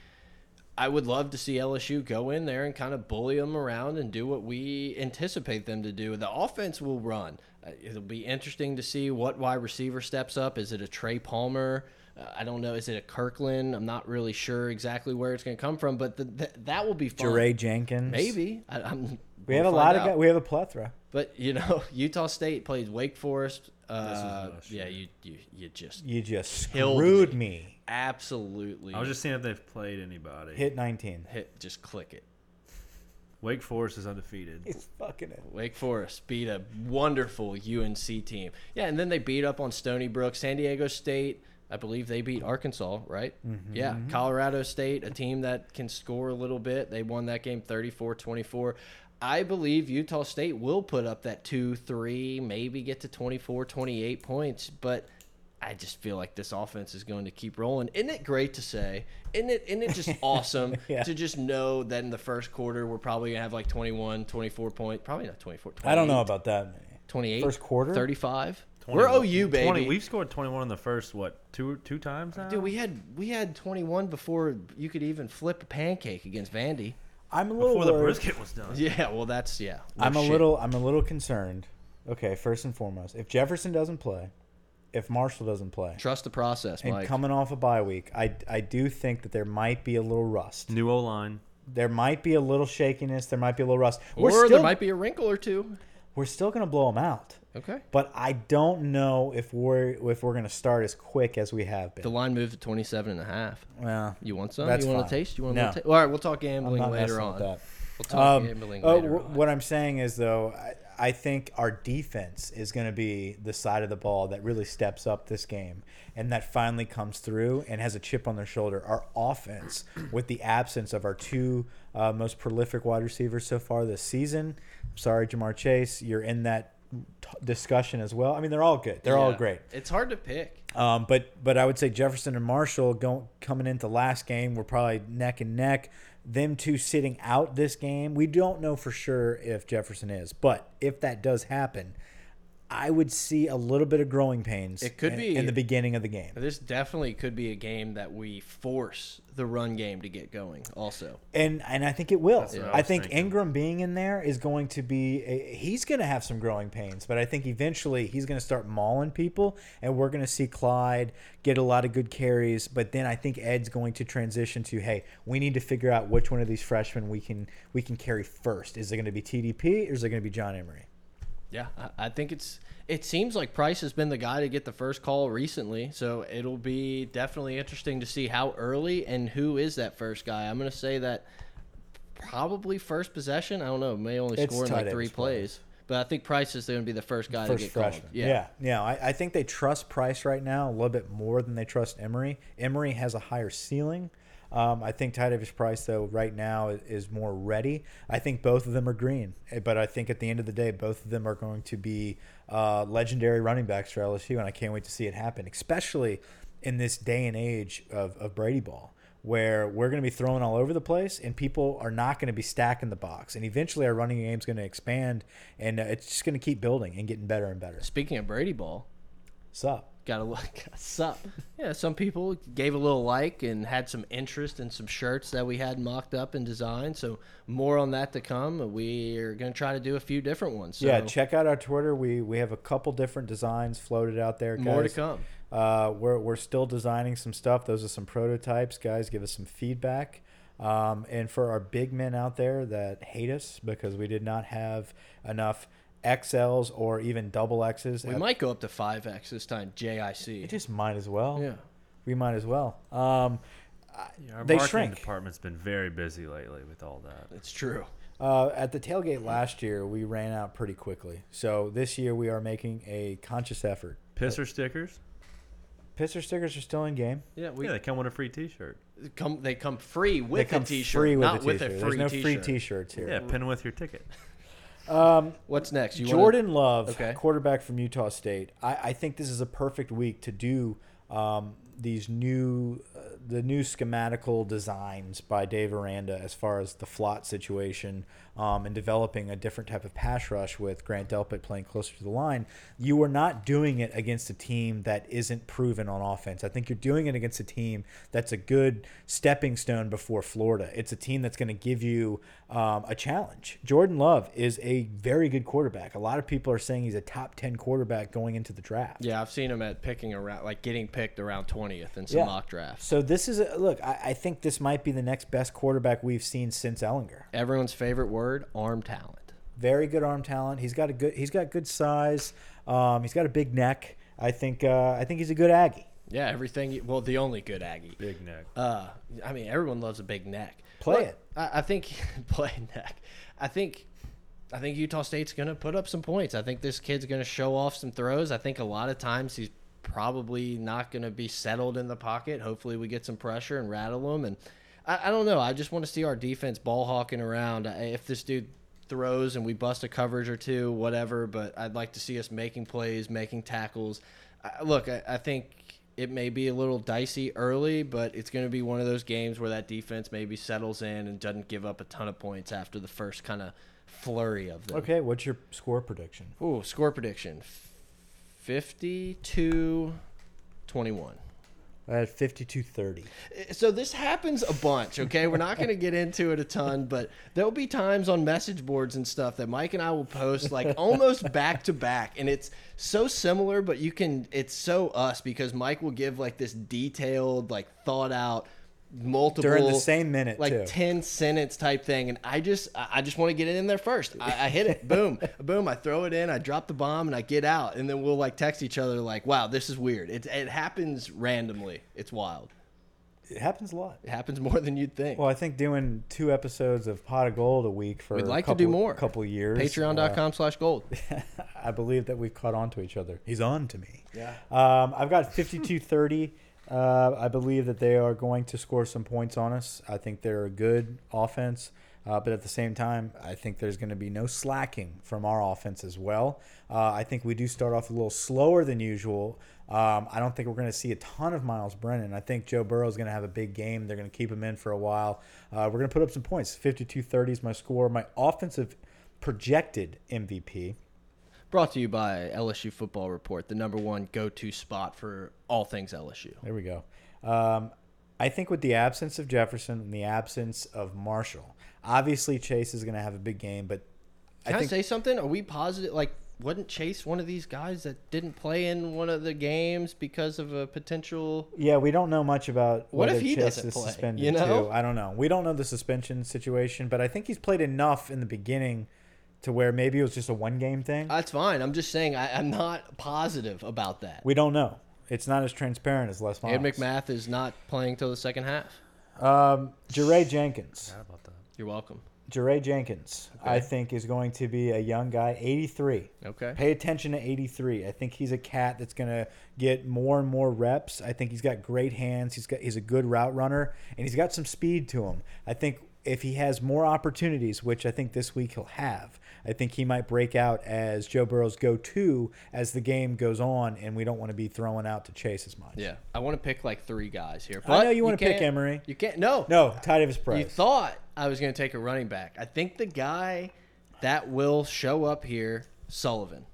[SPEAKER 2] I would love to see LSU go in there and kind of bully them around and do what we anticipate them to do. The offense will run. Uh, It'll be interesting to see what wide receiver steps up. Is it a Trey Palmer? Uh, I don't know. Is it a Kirkland? I'm not really sure exactly where it's going to come from, but the, th that will be fun.
[SPEAKER 1] Jeray Jenkins,
[SPEAKER 2] Maybe. I, I'm,
[SPEAKER 1] we have a lot of
[SPEAKER 2] guys.
[SPEAKER 1] guys. We have a plethora.
[SPEAKER 2] But you know, [laughs] Utah State plays Wake Forest. Uh,
[SPEAKER 3] last
[SPEAKER 2] yeah, you, you you just
[SPEAKER 1] You just
[SPEAKER 2] Killed
[SPEAKER 1] screwed me.
[SPEAKER 2] absolutely
[SPEAKER 3] I was just seeing if they've played anybody.
[SPEAKER 1] Hit 19.
[SPEAKER 2] hit just click it.
[SPEAKER 3] Wake Forest is undefeated.
[SPEAKER 1] It's fucking it.
[SPEAKER 2] Wake Forest beat a wonderful UNC team. Yeah, and then they beat up on Stony Brook, San Diego State. I believe they beat Arkansas, right?
[SPEAKER 3] Mm-hmm.
[SPEAKER 2] Yeah, Colorado State, a team that can score a little bit. They won that game 34-24. I believe Utah State will put up that 2-3, maybe get to 24, 28 points, but I just feel like this offense is going to keep rolling. Isn't it great to say? Isn't it, isn't
[SPEAKER 1] [laughs]
[SPEAKER 2] it just awesome
[SPEAKER 1] Yeah.
[SPEAKER 2] to just know that in the first quarter we're probably going to have like 21, 24 point, probably not 24.
[SPEAKER 1] I don't know about that.
[SPEAKER 2] 28.
[SPEAKER 1] First quarter?
[SPEAKER 2] 35. We're
[SPEAKER 3] 21.
[SPEAKER 2] OU, baby.
[SPEAKER 3] 20, we've scored 21 in the first what two two times now.
[SPEAKER 2] Dude, we had we had 21 before you could even flip a pancake against Vandy. [laughs]
[SPEAKER 1] I'm a little
[SPEAKER 3] before the
[SPEAKER 1] worried.
[SPEAKER 3] brisket was done.
[SPEAKER 2] Yeah, well, that's yeah. no
[SPEAKER 1] I'm a
[SPEAKER 2] shit.
[SPEAKER 1] little I'm a little concerned. Okay, first and foremost, if Jefferson doesn't play, if Marshall doesn't play,
[SPEAKER 2] trust the process,
[SPEAKER 1] and
[SPEAKER 2] Mike.
[SPEAKER 1] coming off a bye week, I I do think that there might be a little rust.
[SPEAKER 3] New O line.
[SPEAKER 1] There might be a little shakiness. There might be a little rust.
[SPEAKER 2] or
[SPEAKER 1] We're still
[SPEAKER 2] there might be a wrinkle or two.
[SPEAKER 1] we're still gonna blow them out,
[SPEAKER 2] Okay.
[SPEAKER 1] but I don't know if we're if we're gonna start as quick as we have
[SPEAKER 2] The
[SPEAKER 1] been.
[SPEAKER 2] line moved to 27 and a half.
[SPEAKER 1] Yeah,
[SPEAKER 2] You want some?
[SPEAKER 1] That's
[SPEAKER 2] you want
[SPEAKER 1] fine.
[SPEAKER 2] to taste? You want
[SPEAKER 1] No.
[SPEAKER 2] to? Well, all right, we'll talk
[SPEAKER 1] I'm
[SPEAKER 2] gambling
[SPEAKER 1] not
[SPEAKER 2] later
[SPEAKER 1] messing with
[SPEAKER 2] on.
[SPEAKER 1] that.
[SPEAKER 2] We'll talk
[SPEAKER 1] Um,
[SPEAKER 2] gambling
[SPEAKER 1] oh,
[SPEAKER 2] later
[SPEAKER 1] wh-
[SPEAKER 2] on.
[SPEAKER 1] What I'm saying is, though, I, I think our defense is going to be the side of the ball that really steps up this game and that finally comes through and has a chip on their shoulder. Our offense, with the absence of our two uh, most prolific wide receivers so far this season, sorry, Jamar Chase, you're in that t- discussion as well. I mean, they're all good, they're all
[SPEAKER 2] Yeah.
[SPEAKER 1] great.
[SPEAKER 2] It's hard to pick.
[SPEAKER 1] Um, but but I would say Jefferson and Marshall going coming into last game were probably neck and neck. Them two sitting out this game, we don't know for sure if Jefferson is, but if that does happen, I would see a little bit of growing pains.
[SPEAKER 2] It could
[SPEAKER 1] in,
[SPEAKER 2] be-
[SPEAKER 1] in the beginning of the game,
[SPEAKER 2] This definitely could be a game that we force the run game to get going. Also,
[SPEAKER 1] and and I think it will.
[SPEAKER 3] what I
[SPEAKER 1] I
[SPEAKER 3] was
[SPEAKER 1] think
[SPEAKER 3] thinking.
[SPEAKER 1] Ingram being in there is going to be a, he's going to have some growing pains, but I think eventually he's going to start mauling people, and we're going to see Clyde get a lot of good carries. But then I think Ed's going to transition to hey, we need to figure out which one of these freshmen we can we can carry first. Is it going to be TDP or is it going to be John Emery?
[SPEAKER 2] yeah, I, I think it's. It seems like Price has been the guy to get the first call recently, so it'll be definitely interesting to see how early and who is that first guy. I'm going to say that probably first possession. I don't know. May only
[SPEAKER 1] It's
[SPEAKER 2] score in
[SPEAKER 1] tight
[SPEAKER 2] like
[SPEAKER 1] end
[SPEAKER 2] three
[SPEAKER 1] as well.
[SPEAKER 2] plays, but I think Price is going to be the first guy to
[SPEAKER 1] First
[SPEAKER 2] get called.
[SPEAKER 1] freshman. Yeah. yeah, I, I think they trust Price right now a little bit more than they trust Emory. Emory has a higher ceiling. Um, I think Tadavis Price, though, right now is, is more ready. I think both of them are green, eh, but I think at the end of the day, both of them are going to be uh, legendary running backs for LSU, and I can't wait to see it happen, especially in this day and age of, of Brady ball where we're going to be thrown all over the place and people are not going to be stacking the box and eventually our running game's going to expand and uh, it's just going to keep building and getting better and better
[SPEAKER 2] Speaking of Brady Ball,
[SPEAKER 1] sup
[SPEAKER 2] gotta look [laughs] sup yeah some people gave a little like and had some interest in some shirts that we had mocked up and designed so more on that to come we are gonna try to do a few different ones so
[SPEAKER 1] yeah check out our twitter we we have a couple different designs floated out there guys.
[SPEAKER 2] more to come
[SPEAKER 1] uh, we're, we're still designing some stuff those are some prototypes guys give us some feedback um, and for our big men out there that hate us because we did not have enough xls or even double x's
[SPEAKER 2] we
[SPEAKER 1] at-
[SPEAKER 2] might go up to 5x this time
[SPEAKER 1] we
[SPEAKER 2] jic
[SPEAKER 1] just might as well
[SPEAKER 2] yeah
[SPEAKER 1] we might as well um,
[SPEAKER 3] Yeah, our
[SPEAKER 1] They
[SPEAKER 3] marketing
[SPEAKER 1] shrink.
[SPEAKER 3] department's been very busy lately with all that.
[SPEAKER 2] it's true
[SPEAKER 1] Uh, at the tailgate last year, we ran out pretty quickly. So this year, we are making a conscious effort.
[SPEAKER 3] Pisser stickers.
[SPEAKER 1] Pisser stickers are still in game.
[SPEAKER 2] yeah we
[SPEAKER 3] yeah, they come with a free T-shirt.
[SPEAKER 2] come they come free with
[SPEAKER 1] they come
[SPEAKER 2] a t-shirt
[SPEAKER 1] free with
[SPEAKER 2] not
[SPEAKER 1] a
[SPEAKER 2] with
[SPEAKER 1] t-shirt.
[SPEAKER 2] a
[SPEAKER 1] There's
[SPEAKER 2] free
[SPEAKER 1] no free
[SPEAKER 2] t-shirt
[SPEAKER 1] t-shirts here.
[SPEAKER 3] Yeah, pin with your ticket.
[SPEAKER 2] what's next you wanna-
[SPEAKER 1] Jordan Love,
[SPEAKER 2] Okay.
[SPEAKER 1] quarterback from Utah State. I, I think this is a perfect week to do um, these new, uh, the new schematical designs by Dave Aranda as far as the flot situation um, and developing a different type of pass rush with Grant Delpit playing closer to the line. You are not doing it against a team that isn't proven on offense. I think you're doing it against a team that's a good stepping stone before Florida. It's a team that's going to give you um, a challenge. Jordan Love is a very good quarterback. A lot of people are saying he's a top 10 quarterback going into the draft.
[SPEAKER 2] yeah i've seen him at picking around like getting picked around 20th in some
[SPEAKER 1] Yeah.
[SPEAKER 2] mock drafts
[SPEAKER 1] So this is a look, I, I think this might be the next best quarterback we've seen since Ellinger.
[SPEAKER 2] everyone's favorite word arm talent
[SPEAKER 1] Very good arm talent. He's got a good he's got good size. Um, he's got a big neck. I think uh, I think he's a good Aggie.
[SPEAKER 2] Yeah, everything. you- Well, the only good Aggie.
[SPEAKER 3] [laughs] Big neck.
[SPEAKER 2] Uh, I mean, everyone loves a big neck.
[SPEAKER 1] Play
[SPEAKER 2] Look,
[SPEAKER 1] it.
[SPEAKER 2] I, I think [laughs] play neck. I think, I think Utah State's gonna put up some points. I think this kid's gonna show off some throws. I think a lot of times he's probably not gonna be settled in the pocket. Hopefully, we get some pressure and rattle him. And I, I don't know. I just want to see our defense ball hawking around. I- If this dude throws and we bust a coverage or two, whatever. But I'd like to see us making plays, making tackles. I, look, I, I think it may be a little dicey early, but it's going to be one of those games where that defense maybe settles in and doesn't give up a ton of points after the first kind of flurry of them.
[SPEAKER 1] Okay, what's your score prediction?
[SPEAKER 2] Ooh, score prediction. 52 21.
[SPEAKER 1] at fifty-two thirty.
[SPEAKER 2] So this happens a bunch, okay? We're not going to get into it a ton, but there'll be times on message boards and stuff that Mike and I will post like almost back to back and it's so similar, but you can it's so us because Mike will give like this detailed, like thought out multiple
[SPEAKER 1] During the same minute,
[SPEAKER 2] like
[SPEAKER 1] too.
[SPEAKER 2] 10 sentence type thing and i just i I just want to get it in there first i, I hit it boom [laughs] boom i throw it in i drop the bomb and i get out and then we'll like text each other like wow this is weird it, it happens randomly it's wild
[SPEAKER 1] It happens a lot.
[SPEAKER 2] it happens more [laughs] than you'd think.
[SPEAKER 1] Well, I think doing two episodes of Pot of Gold a week for
[SPEAKER 2] We'd like
[SPEAKER 1] a couple,
[SPEAKER 2] to do more.
[SPEAKER 1] couple years. uh,
[SPEAKER 2] Patreon.com slash gold. [laughs]
[SPEAKER 1] I believe that we've caught on to each other. He's on to me.
[SPEAKER 2] Yeah.
[SPEAKER 1] Um, I've got 52 30. Uh, I believe that they are going to score some points on us. I think they're a good offense. Uh, but at the same time, I think there's going to be no slacking from our offense as well. Uh, I think we do start off a little slower than usual. Um, I don't think we're going to see a ton of Miles Brennan. I think Joe Burrow is going to have a big game. They're going to keep him in for a while. Uh, we're going to put up some points. 52 30 is my score. My offensive projected MVP.
[SPEAKER 2] Brought to you by LSU Football Report, the number one go to spot for all things LSU.
[SPEAKER 1] There we go. Um, I think with the absence of Jefferson and the absence of Marshall, obviously Chase is going to have a big game, but
[SPEAKER 2] Can I,
[SPEAKER 1] think-
[SPEAKER 2] say something? Are we positive? Like, wasn't Chase one of these guys that didn't play in one of the games because of a potential.
[SPEAKER 1] yeah, we don't know much about
[SPEAKER 2] What if
[SPEAKER 1] whether
[SPEAKER 2] he
[SPEAKER 1] Chase
[SPEAKER 2] doesn't
[SPEAKER 1] is
[SPEAKER 2] play,
[SPEAKER 1] suspended
[SPEAKER 2] you know?
[SPEAKER 1] too. I don't know. We don't know the suspension situation, but I think he's played enough in the beginning to where maybe it was just a one game thing.
[SPEAKER 2] That's fine. I'm just saying, I, I'm not positive about that.
[SPEAKER 1] we don't know. It's not as transparent as Les Miles.
[SPEAKER 2] Ed McMath is not playing till the second half.
[SPEAKER 1] Um, Jure Jenkins.
[SPEAKER 3] Forgot about that.
[SPEAKER 2] You're welcome.
[SPEAKER 1] Jure Jenkins, I think, is going to be a young guy, 83.
[SPEAKER 2] Okay.
[SPEAKER 1] Pay attention to 83. I think he's a cat that's going to get more and more reps. I think he's got great hands. He's got he's a good route runner and he's got some speed to him. I think if he has more opportunities, which I think this week he'll have, I think he might break out as Joe Burrow's go-to as the game goes on and we don't want to be throwing out to Chase as much.
[SPEAKER 2] Yeah. I want to pick like three guys here.
[SPEAKER 1] I know
[SPEAKER 2] but
[SPEAKER 1] you wanna pick
[SPEAKER 2] can't-
[SPEAKER 1] Emery.
[SPEAKER 2] You can't. No.
[SPEAKER 1] No, Ty Davis
[SPEAKER 2] You
[SPEAKER 1] Price.
[SPEAKER 2] thought I was going to take a running back. I think the guy that will show up here, Sullivan.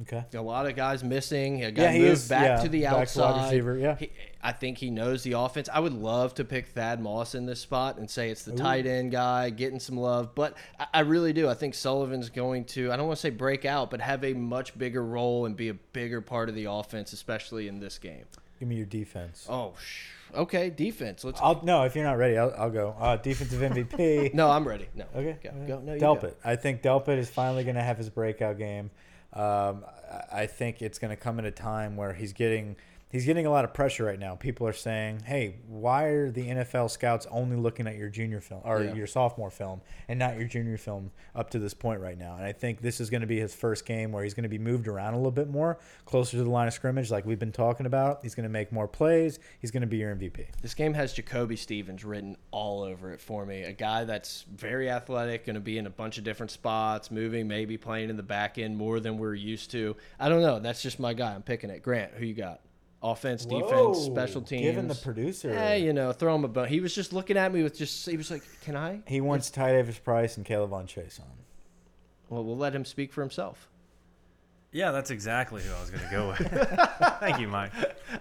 [SPEAKER 1] Okay.
[SPEAKER 2] A lot of guys missing. A guy
[SPEAKER 1] Yeah, he
[SPEAKER 2] moved
[SPEAKER 1] is-
[SPEAKER 2] back
[SPEAKER 1] yeah,
[SPEAKER 2] to the
[SPEAKER 1] back to wide
[SPEAKER 2] outside.
[SPEAKER 1] receiver, yeah.
[SPEAKER 2] He- I think he knows the offense. I would love to pick Thad Moss in this spot and say it's the tight end guy getting some love, but I, I really do. I think Sullivan's going to. I don't want to say break out, but have a much bigger role and be a bigger part of the offense, especially in this game.
[SPEAKER 1] Give me your defense.
[SPEAKER 2] Oh, sh okay, defense. Let's.
[SPEAKER 1] I'll no, if you're not ready, I'll, I'll go. Uh, defensive [laughs] MVP.
[SPEAKER 2] no, I'm ready. No.
[SPEAKER 1] Okay.
[SPEAKER 2] Go.
[SPEAKER 1] all
[SPEAKER 2] go.
[SPEAKER 1] right.
[SPEAKER 2] No, you go.
[SPEAKER 1] Delpit. I think Delpit is finally going to have his breakout game. Um, I- I think it's going to come at a time where he's getting he's getting a lot of pressure right now. People are saying, "Hey, why are the NFL scouts only looking at your junior film or
[SPEAKER 2] Yeah.
[SPEAKER 1] your sophomore film and not your junior film up to this point right now?" And I think this is going to be his first game where he's going to be moved around a little bit more, closer to the line of scrimmage, like we've been talking about. He's going to make more plays. He's going to be your MVP.
[SPEAKER 2] This game has Jacoby Stevens written all over it for me. A guy that's very athletic, going to be in a bunch of different spots, moving, maybe playing in the back end more than we're used to. I don't know. That's just my guy. I'm picking it. Grant, who you got? Offense, defense,
[SPEAKER 1] Whoa,
[SPEAKER 2] special teams.
[SPEAKER 1] Given the producer.
[SPEAKER 2] Hey, you know, throw him a bone. He was just looking at me with just. He was like, "Can I?"
[SPEAKER 1] He wants Ty Davis Price and Caleb on Chase on.
[SPEAKER 2] Well, we'll let him speak for himself.
[SPEAKER 3] Yeah, that's exactly who I was gonna
[SPEAKER 1] [laughs]
[SPEAKER 3] go with. [laughs] Thank you, Mike.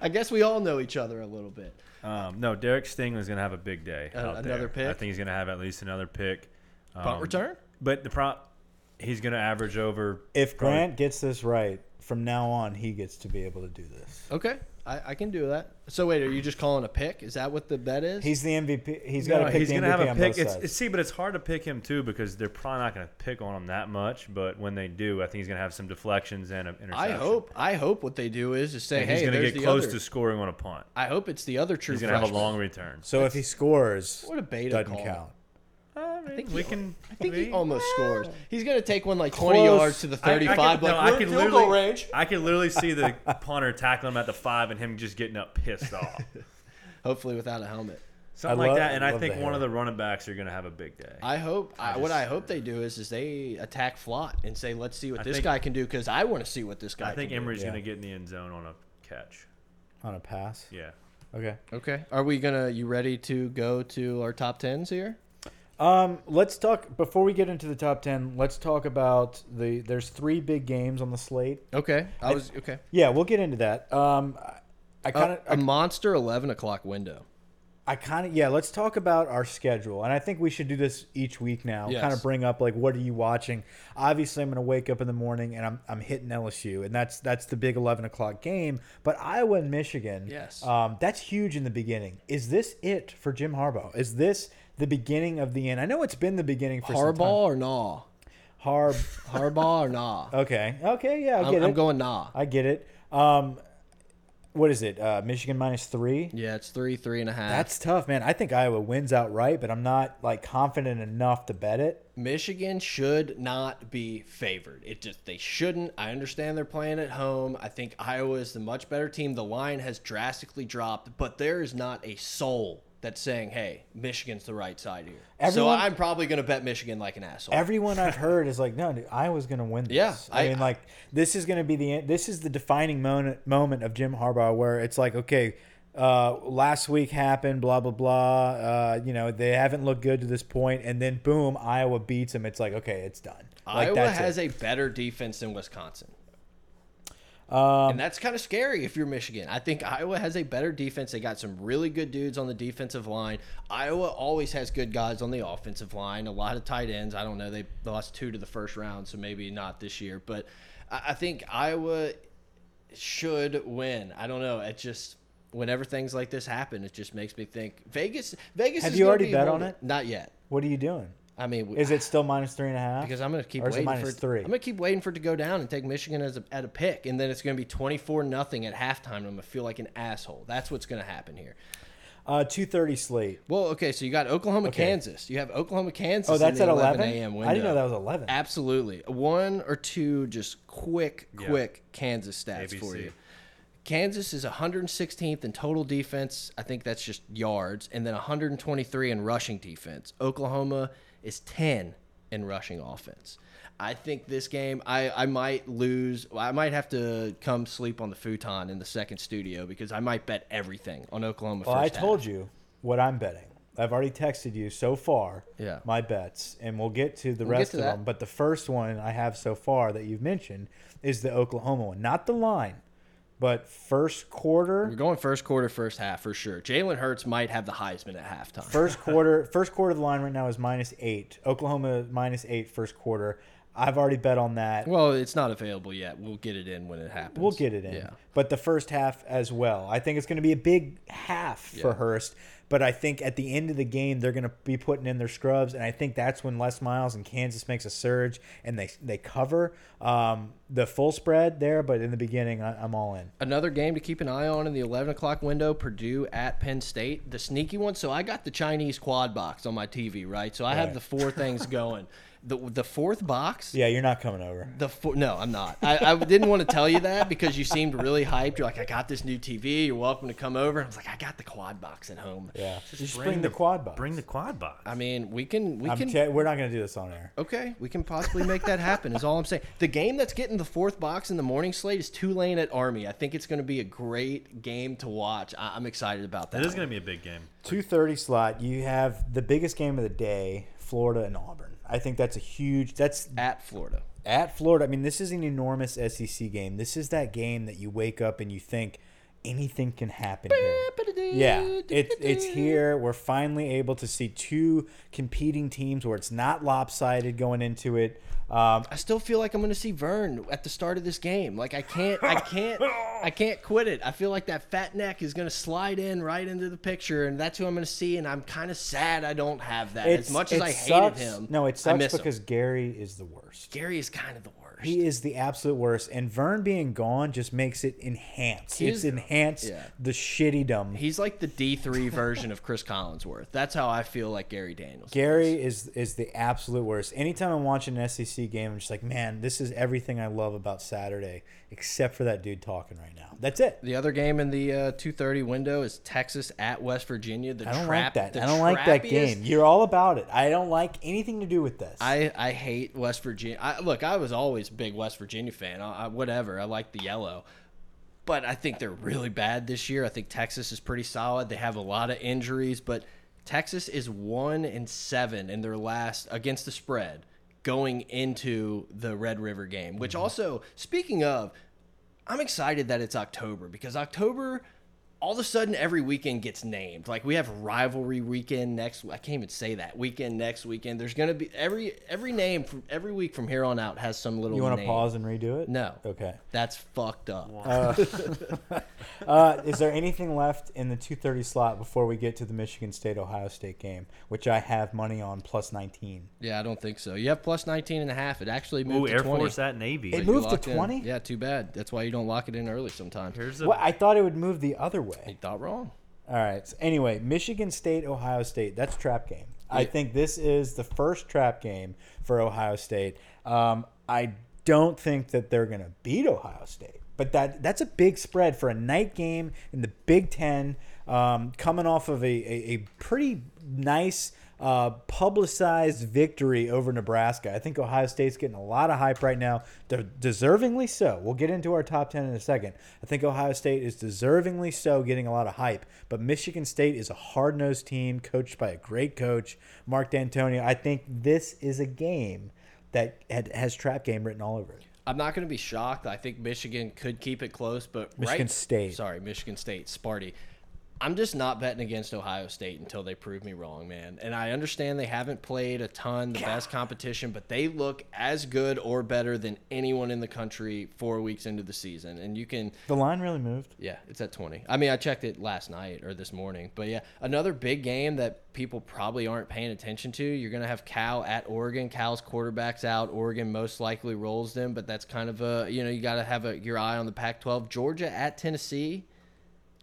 [SPEAKER 2] I guess we all know each other a little bit.
[SPEAKER 3] Um, no, Derek Stingley's gonna have a big day.
[SPEAKER 2] Uh,
[SPEAKER 3] out
[SPEAKER 2] another
[SPEAKER 3] there. I
[SPEAKER 2] pick?
[SPEAKER 3] think he's gonna have at least another pick. Um,
[SPEAKER 2] Punt return.
[SPEAKER 3] But the prop, he's gonna average over.
[SPEAKER 1] If
[SPEAKER 3] probably-
[SPEAKER 1] Grant gets this right, from now on he gets to be able to do this.
[SPEAKER 2] Okay, I, I can do that. So wait, are you just calling a pick? Is that what the bet is?
[SPEAKER 1] He's the MVP. He's got to
[SPEAKER 3] No,
[SPEAKER 1] pick
[SPEAKER 3] he's
[SPEAKER 1] the
[SPEAKER 3] gonna
[SPEAKER 1] MVP
[SPEAKER 3] have a
[SPEAKER 1] on
[SPEAKER 3] pick.
[SPEAKER 1] both
[SPEAKER 3] It's,
[SPEAKER 1] sides.
[SPEAKER 3] it's- see, but it's hard to pick him too because they're probably not gonna pick on him that much. But when they do, I think he's gonna have some deflections and an interception.
[SPEAKER 2] I hope. I hope what they do is just say,
[SPEAKER 3] And
[SPEAKER 2] "Hey,
[SPEAKER 3] he's gonna
[SPEAKER 2] there's
[SPEAKER 3] get
[SPEAKER 2] the
[SPEAKER 3] close
[SPEAKER 2] other.
[SPEAKER 3] to scoring on a punt.
[SPEAKER 2] I hope it's the other true.
[SPEAKER 3] He's gonna have a
[SPEAKER 2] freshman.
[SPEAKER 3] long return.
[SPEAKER 1] so if he scores,
[SPEAKER 2] What a beta
[SPEAKER 1] doesn't
[SPEAKER 2] call.
[SPEAKER 1] count.
[SPEAKER 3] I
[SPEAKER 2] think
[SPEAKER 3] we
[SPEAKER 2] he-
[SPEAKER 3] can.
[SPEAKER 2] I think he
[SPEAKER 3] we-
[SPEAKER 2] almost scores. He's gonna take one like 20
[SPEAKER 1] Close.
[SPEAKER 2] yards to the
[SPEAKER 3] I- I can-
[SPEAKER 2] 35.
[SPEAKER 3] no,
[SPEAKER 2] like
[SPEAKER 3] I
[SPEAKER 2] we're
[SPEAKER 3] can
[SPEAKER 2] field goal
[SPEAKER 3] literally-
[SPEAKER 2] range.
[SPEAKER 3] I can literally see
[SPEAKER 2] [laughs]
[SPEAKER 3] the punter tackle him at the five and him just getting up pissed off.
[SPEAKER 2] Hopefully without a helmet.
[SPEAKER 1] I
[SPEAKER 3] Something like
[SPEAKER 1] love-
[SPEAKER 3] that. And I
[SPEAKER 1] love
[SPEAKER 3] think
[SPEAKER 1] the
[SPEAKER 3] one
[SPEAKER 1] hair.
[SPEAKER 3] of the running backs are going to have a big day.
[SPEAKER 2] I hope. I, what
[SPEAKER 3] just-
[SPEAKER 2] I hope they do is is they attack Flott and say, "Let's see what
[SPEAKER 3] I
[SPEAKER 2] this
[SPEAKER 3] think-
[SPEAKER 2] guy can do," because I want to see what this guy.
[SPEAKER 3] I think
[SPEAKER 2] can
[SPEAKER 3] Emery's
[SPEAKER 1] yeah.
[SPEAKER 3] going to get in the end zone on a catch.
[SPEAKER 1] On a pass.
[SPEAKER 3] Yeah.
[SPEAKER 1] Okay.
[SPEAKER 2] Do. Okay. Are we gonna? You ready to go to our top tens here?
[SPEAKER 1] Um, let's talk before we get into the top ten. Let's talk about the. There's three big games on the slate.
[SPEAKER 2] Okay, I was okay. Uh,
[SPEAKER 1] Yeah, we'll get into that. Um, I-
[SPEAKER 3] Uh,
[SPEAKER 1] I kind of,
[SPEAKER 2] a monster eleven o'clock window.
[SPEAKER 1] I kind of, yeah. Let's talk about our schedule, and I think we should do this each week now.
[SPEAKER 2] Yes.
[SPEAKER 1] Kind of bring up like, what are you watching? Obviously, I'm going to wake up in the morning and I'm, I'm hitting LSU, and that's that's the big 11 o'clock game. But Iowa and Michigan,
[SPEAKER 2] Yes.
[SPEAKER 1] um, that's huge in the beginning. Is this it for Jim Harbaugh? Is this the beginning of the end? I know it's been the beginning for some
[SPEAKER 2] Harbaugh
[SPEAKER 1] time.
[SPEAKER 2] or nah?
[SPEAKER 1] Harb.
[SPEAKER 2] Harbaugh or [laughs] nah?
[SPEAKER 1] Okay, okay, yeah, I
[SPEAKER 2] I'm,
[SPEAKER 1] get it.
[SPEAKER 2] I'm going nah.
[SPEAKER 1] I get it. Um, what is it? Uh, Michigan minus three.
[SPEAKER 2] Yeah, it's three, three and a half.
[SPEAKER 1] That's tough, man. I think Iowa wins outright, but I'm not like confident enough to bet it.
[SPEAKER 2] Michigan should not be favored. It just they shouldn't. I understand they're playing at home. I think Iowa is the much better team. The line has drastically dropped, but there is not a soul that's saying, "Hey, Michigan's the right side here."
[SPEAKER 1] Everyone-
[SPEAKER 2] so I'm probably going to bet Michigan like an asshole.
[SPEAKER 1] Everyone
[SPEAKER 2] [laughs]
[SPEAKER 1] I've heard is like, no, dude, Iowa's going to win this.
[SPEAKER 2] Yeah,
[SPEAKER 1] I,
[SPEAKER 2] I-
[SPEAKER 1] mean, like this is going to be the end. This is the defining moment moment of Jim Harbaugh, where it's like, okay, uh, last week happened, blah blah blah. Uh, you know, they haven't looked good to this point, and then boom, Iowa beats them. It's like, okay, it's done. Like,
[SPEAKER 2] Iowa
[SPEAKER 1] that's
[SPEAKER 2] has
[SPEAKER 1] it.
[SPEAKER 2] a better defense than Wisconsin.
[SPEAKER 1] Um,
[SPEAKER 2] and that's kind of scary if you're Michigan. I think Iowa has a better defense. They got some really good dudes on the defensive line. Iowa always has good guys on the offensive line. A lot of tight ends. I don't know. They lost two to the first round, so maybe not this year. But I I think Iowa should win. I don't know. It just whenever things like this happen, it just makes me think Vegas. Vegas.
[SPEAKER 1] Have
[SPEAKER 2] is
[SPEAKER 1] you
[SPEAKER 2] gonna
[SPEAKER 1] already
[SPEAKER 2] be
[SPEAKER 1] bet on
[SPEAKER 2] holding-
[SPEAKER 1] it?
[SPEAKER 2] Not yet.
[SPEAKER 1] what are you doing?
[SPEAKER 2] I mean, we-
[SPEAKER 1] Is it still minus three and a half?
[SPEAKER 2] because I'm going to keep
[SPEAKER 1] Or is it
[SPEAKER 2] waiting for
[SPEAKER 1] minus
[SPEAKER 2] it-
[SPEAKER 1] three?
[SPEAKER 2] I'm going to keep waiting for it to go down and take Michigan as a, at a pick, and then it's going to be 24 nothing at halftime. And I'm going to feel like an asshole. That's what's going to happen here.
[SPEAKER 1] uh, two thirty slate.
[SPEAKER 2] Well, okay, so you got Oklahoma, Kansas. You have Oklahoma, Kansas.
[SPEAKER 1] Oh,
[SPEAKER 2] in
[SPEAKER 1] that's
[SPEAKER 2] the
[SPEAKER 1] at
[SPEAKER 2] 11
[SPEAKER 1] 11
[SPEAKER 2] a.m. window.
[SPEAKER 1] I didn't know that was 11.
[SPEAKER 2] Absolutely, one or two just quick,
[SPEAKER 3] Yeah.
[SPEAKER 2] quick Kansas stats for
[SPEAKER 3] ABC.
[SPEAKER 2] you. Kansas is 116th in total defense. I think that's just yards, and then 123 in rushing defense. Oklahoma is 10 in rushing offense. I think this game, I, I might lose. I might have to come sleep on the futon in the second studio because I might bet everything on Oklahoma.
[SPEAKER 1] Well, I
[SPEAKER 2] first half.
[SPEAKER 1] told you what I'm betting. I've already texted you so far.
[SPEAKER 2] Yeah.
[SPEAKER 1] My bets, and we'll get to the rest
[SPEAKER 2] to
[SPEAKER 1] of
[SPEAKER 2] that.
[SPEAKER 1] them. But the first one I have so far that you've mentioned is the Oklahoma one, not the line, but first
[SPEAKER 2] We're [laughs]
[SPEAKER 1] quarter,
[SPEAKER 2] going first quarter, first half for sure. Jalen Hurts might have the Heisman at halftime.
[SPEAKER 1] first quarter, first quarter. The line right now is minus eight. Oklahoma minus eight first quarter. I've already bet on that.
[SPEAKER 2] well, it's not available yet. We'll get it in when it happens.
[SPEAKER 1] We'll get it in.
[SPEAKER 2] Yeah.
[SPEAKER 1] But the first half as well. I think it's going to be a big half for Hurst. But I think at the end of the game, they're going to be putting in their scrubs, and I think that's when Les Miles and Kansas makes a surge and they they cover um, the full spread there. But in the beginning, I, I'm all in.
[SPEAKER 2] Another game to keep an eye on in the 11 o'clock window Purdue at Penn State. The sneaky one. So I got the Chinese quad box on my TV, right? So I have
[SPEAKER 1] Right.
[SPEAKER 2] the
[SPEAKER 1] [laughs]
[SPEAKER 2] four things going. The, the fourth box
[SPEAKER 1] Yeah, you're not coming over.
[SPEAKER 2] The four, no, I'm not. I, I didn't want to tell you that because you seemed really hyped. You're like, I got this new TV. You're welcome to come over. And I was like, I got the quad box at home.
[SPEAKER 1] Yeah, just bring, the, quad box.
[SPEAKER 3] Bring the quad box.
[SPEAKER 2] I mean, we can we
[SPEAKER 1] I'm
[SPEAKER 2] can
[SPEAKER 1] te- we're not going to do this on air.
[SPEAKER 2] Okay, we can possibly make that happen. Is all I'm saying. The game that's getting the fourth box in the morning slate is Tulane at Army. I think it's going to be a great game to watch. I I'm excited about that.
[SPEAKER 3] It is going to be a big game.
[SPEAKER 1] Two thirty slot. You have the biggest game of the day, Florida and Auburn. I think that's a huge. That's
[SPEAKER 2] at Florida.
[SPEAKER 1] at Florida, I mean, this is an enormous SEC game. This is that game that you wake up and you think anything can happen here. Yeah, it, it's here. We're finally able to see two competing teams where it's not lopsided going into it. Um,
[SPEAKER 2] I still feel like I'm going to see Vern at the start of this game. Like I can't, I can't, I can't quit it. I feel like that fat neck is going to slide in right into the picture, and that's who I'm going to see. And I'm kind of sad I don't have that.
[SPEAKER 1] it's,
[SPEAKER 2] as much as
[SPEAKER 1] it
[SPEAKER 2] I
[SPEAKER 1] sucks-
[SPEAKER 2] hated him,
[SPEAKER 1] No, it
[SPEAKER 2] I
[SPEAKER 1] sucks
[SPEAKER 2] miss him.
[SPEAKER 1] because Gary is the worst.
[SPEAKER 2] Gary is kind of the worst.
[SPEAKER 1] He is the absolute worst, and Vern being gone just makes it enhance. It's
[SPEAKER 2] He's-
[SPEAKER 1] enhanced
[SPEAKER 2] yeah.
[SPEAKER 1] the shittydom.
[SPEAKER 2] He's like the D [laughs] three version of Chris Collinsworth. That's how I feel like Gary Daniels.
[SPEAKER 1] Gary is is the absolute worst. Anytime I'm watching an SEC game, I'm just like, man, this is everything I love about Saturday, except for that dude talking right now. That's it.
[SPEAKER 2] The other game in the uh, two thirty window is Texas at West Virginia. The
[SPEAKER 1] I don't
[SPEAKER 2] trap.
[SPEAKER 1] like that.
[SPEAKER 2] the
[SPEAKER 1] I don't like that
[SPEAKER 2] trappiest-
[SPEAKER 1] game. You're all about it. I don't like anything to do with this.
[SPEAKER 2] I, I hate West Virginia. I, look, I was always a big West Virginia fan. I, I, whatever. I like the yellow. But I think they're really bad this year. I think Texas is pretty solid. They have a lot of injuries, but Texas is one and seven in their last against the spread going into the Red River game. Which
[SPEAKER 1] Mm-hmm.
[SPEAKER 2] also, speaking of, I'm excited that it's October because October. All of a sudden, every weekend gets named. Like we have rivalry weekend next. I can't even say that weekend next weekend. There's gonna be every every name from every week from here on out has some little.
[SPEAKER 1] You want to
[SPEAKER 2] name.
[SPEAKER 1] pause and redo it?
[SPEAKER 2] No.
[SPEAKER 1] Okay.
[SPEAKER 2] That's fucked up.
[SPEAKER 1] Uh, is there anything left in the 2:30 slot before we get to the Michigan State Ohio State game, which I have money on plus 19?
[SPEAKER 2] Yeah, I don't think so. You have plus 19 and a half. It actually moved
[SPEAKER 3] Ooh,
[SPEAKER 2] to
[SPEAKER 3] Air
[SPEAKER 2] 20.
[SPEAKER 3] Force at Navy.
[SPEAKER 1] It
[SPEAKER 2] You
[SPEAKER 1] moved to
[SPEAKER 2] locked in.
[SPEAKER 1] 20.
[SPEAKER 2] Yeah, too bad. That's why you don't lock it in early sometimes.
[SPEAKER 3] Here's a
[SPEAKER 1] Well, I thought it would move the other
[SPEAKER 2] You
[SPEAKER 1] way.
[SPEAKER 2] thought wrong.
[SPEAKER 1] All right. So anyway, Michigan State Ohio State. That's trap game. I
[SPEAKER 2] Yeah.
[SPEAKER 1] think this is the first trap game for Ohio State. Um, I don't think that they're going to beat Ohio State, but that that's a big spread for a night game in the Big Ten, um, coming off of a, a, a pretty nice uh, publicized victory over Nebraska. I think Ohio State's getting a lot of hype right now, de- deservingly so. We'll get into our top 10 in a second. I think Ohio State is deservingly so getting a lot of hype, but Michigan State is a hard nosed team coached by a great coach, Mark D'Antonio. I think this is a game that had, has trap game written all over it.
[SPEAKER 2] I'm not going to be shocked. I think Michigan could keep it close, but
[SPEAKER 1] Michigan
[SPEAKER 2] right,
[SPEAKER 1] State.
[SPEAKER 2] Sorry, Michigan State, Sparty. I'm just not betting against Ohio State until they prove me wrong, man. And I understand they haven't played a ton, the best competition, but they look as good or better than anyone in the country four weeks into the season. And you can
[SPEAKER 1] The line really moved.
[SPEAKER 2] Yeah, it's at 20. I mean, I checked it last night or this morning. But yeah, another big game that people probably aren't paying attention to. You're going to have Cal at Oregon. Cal's quarterback's out. Oregon most likely rolls them, but that's kind of a, you know, you got to have a, your eye on the Pac 12. Georgia at Tennessee.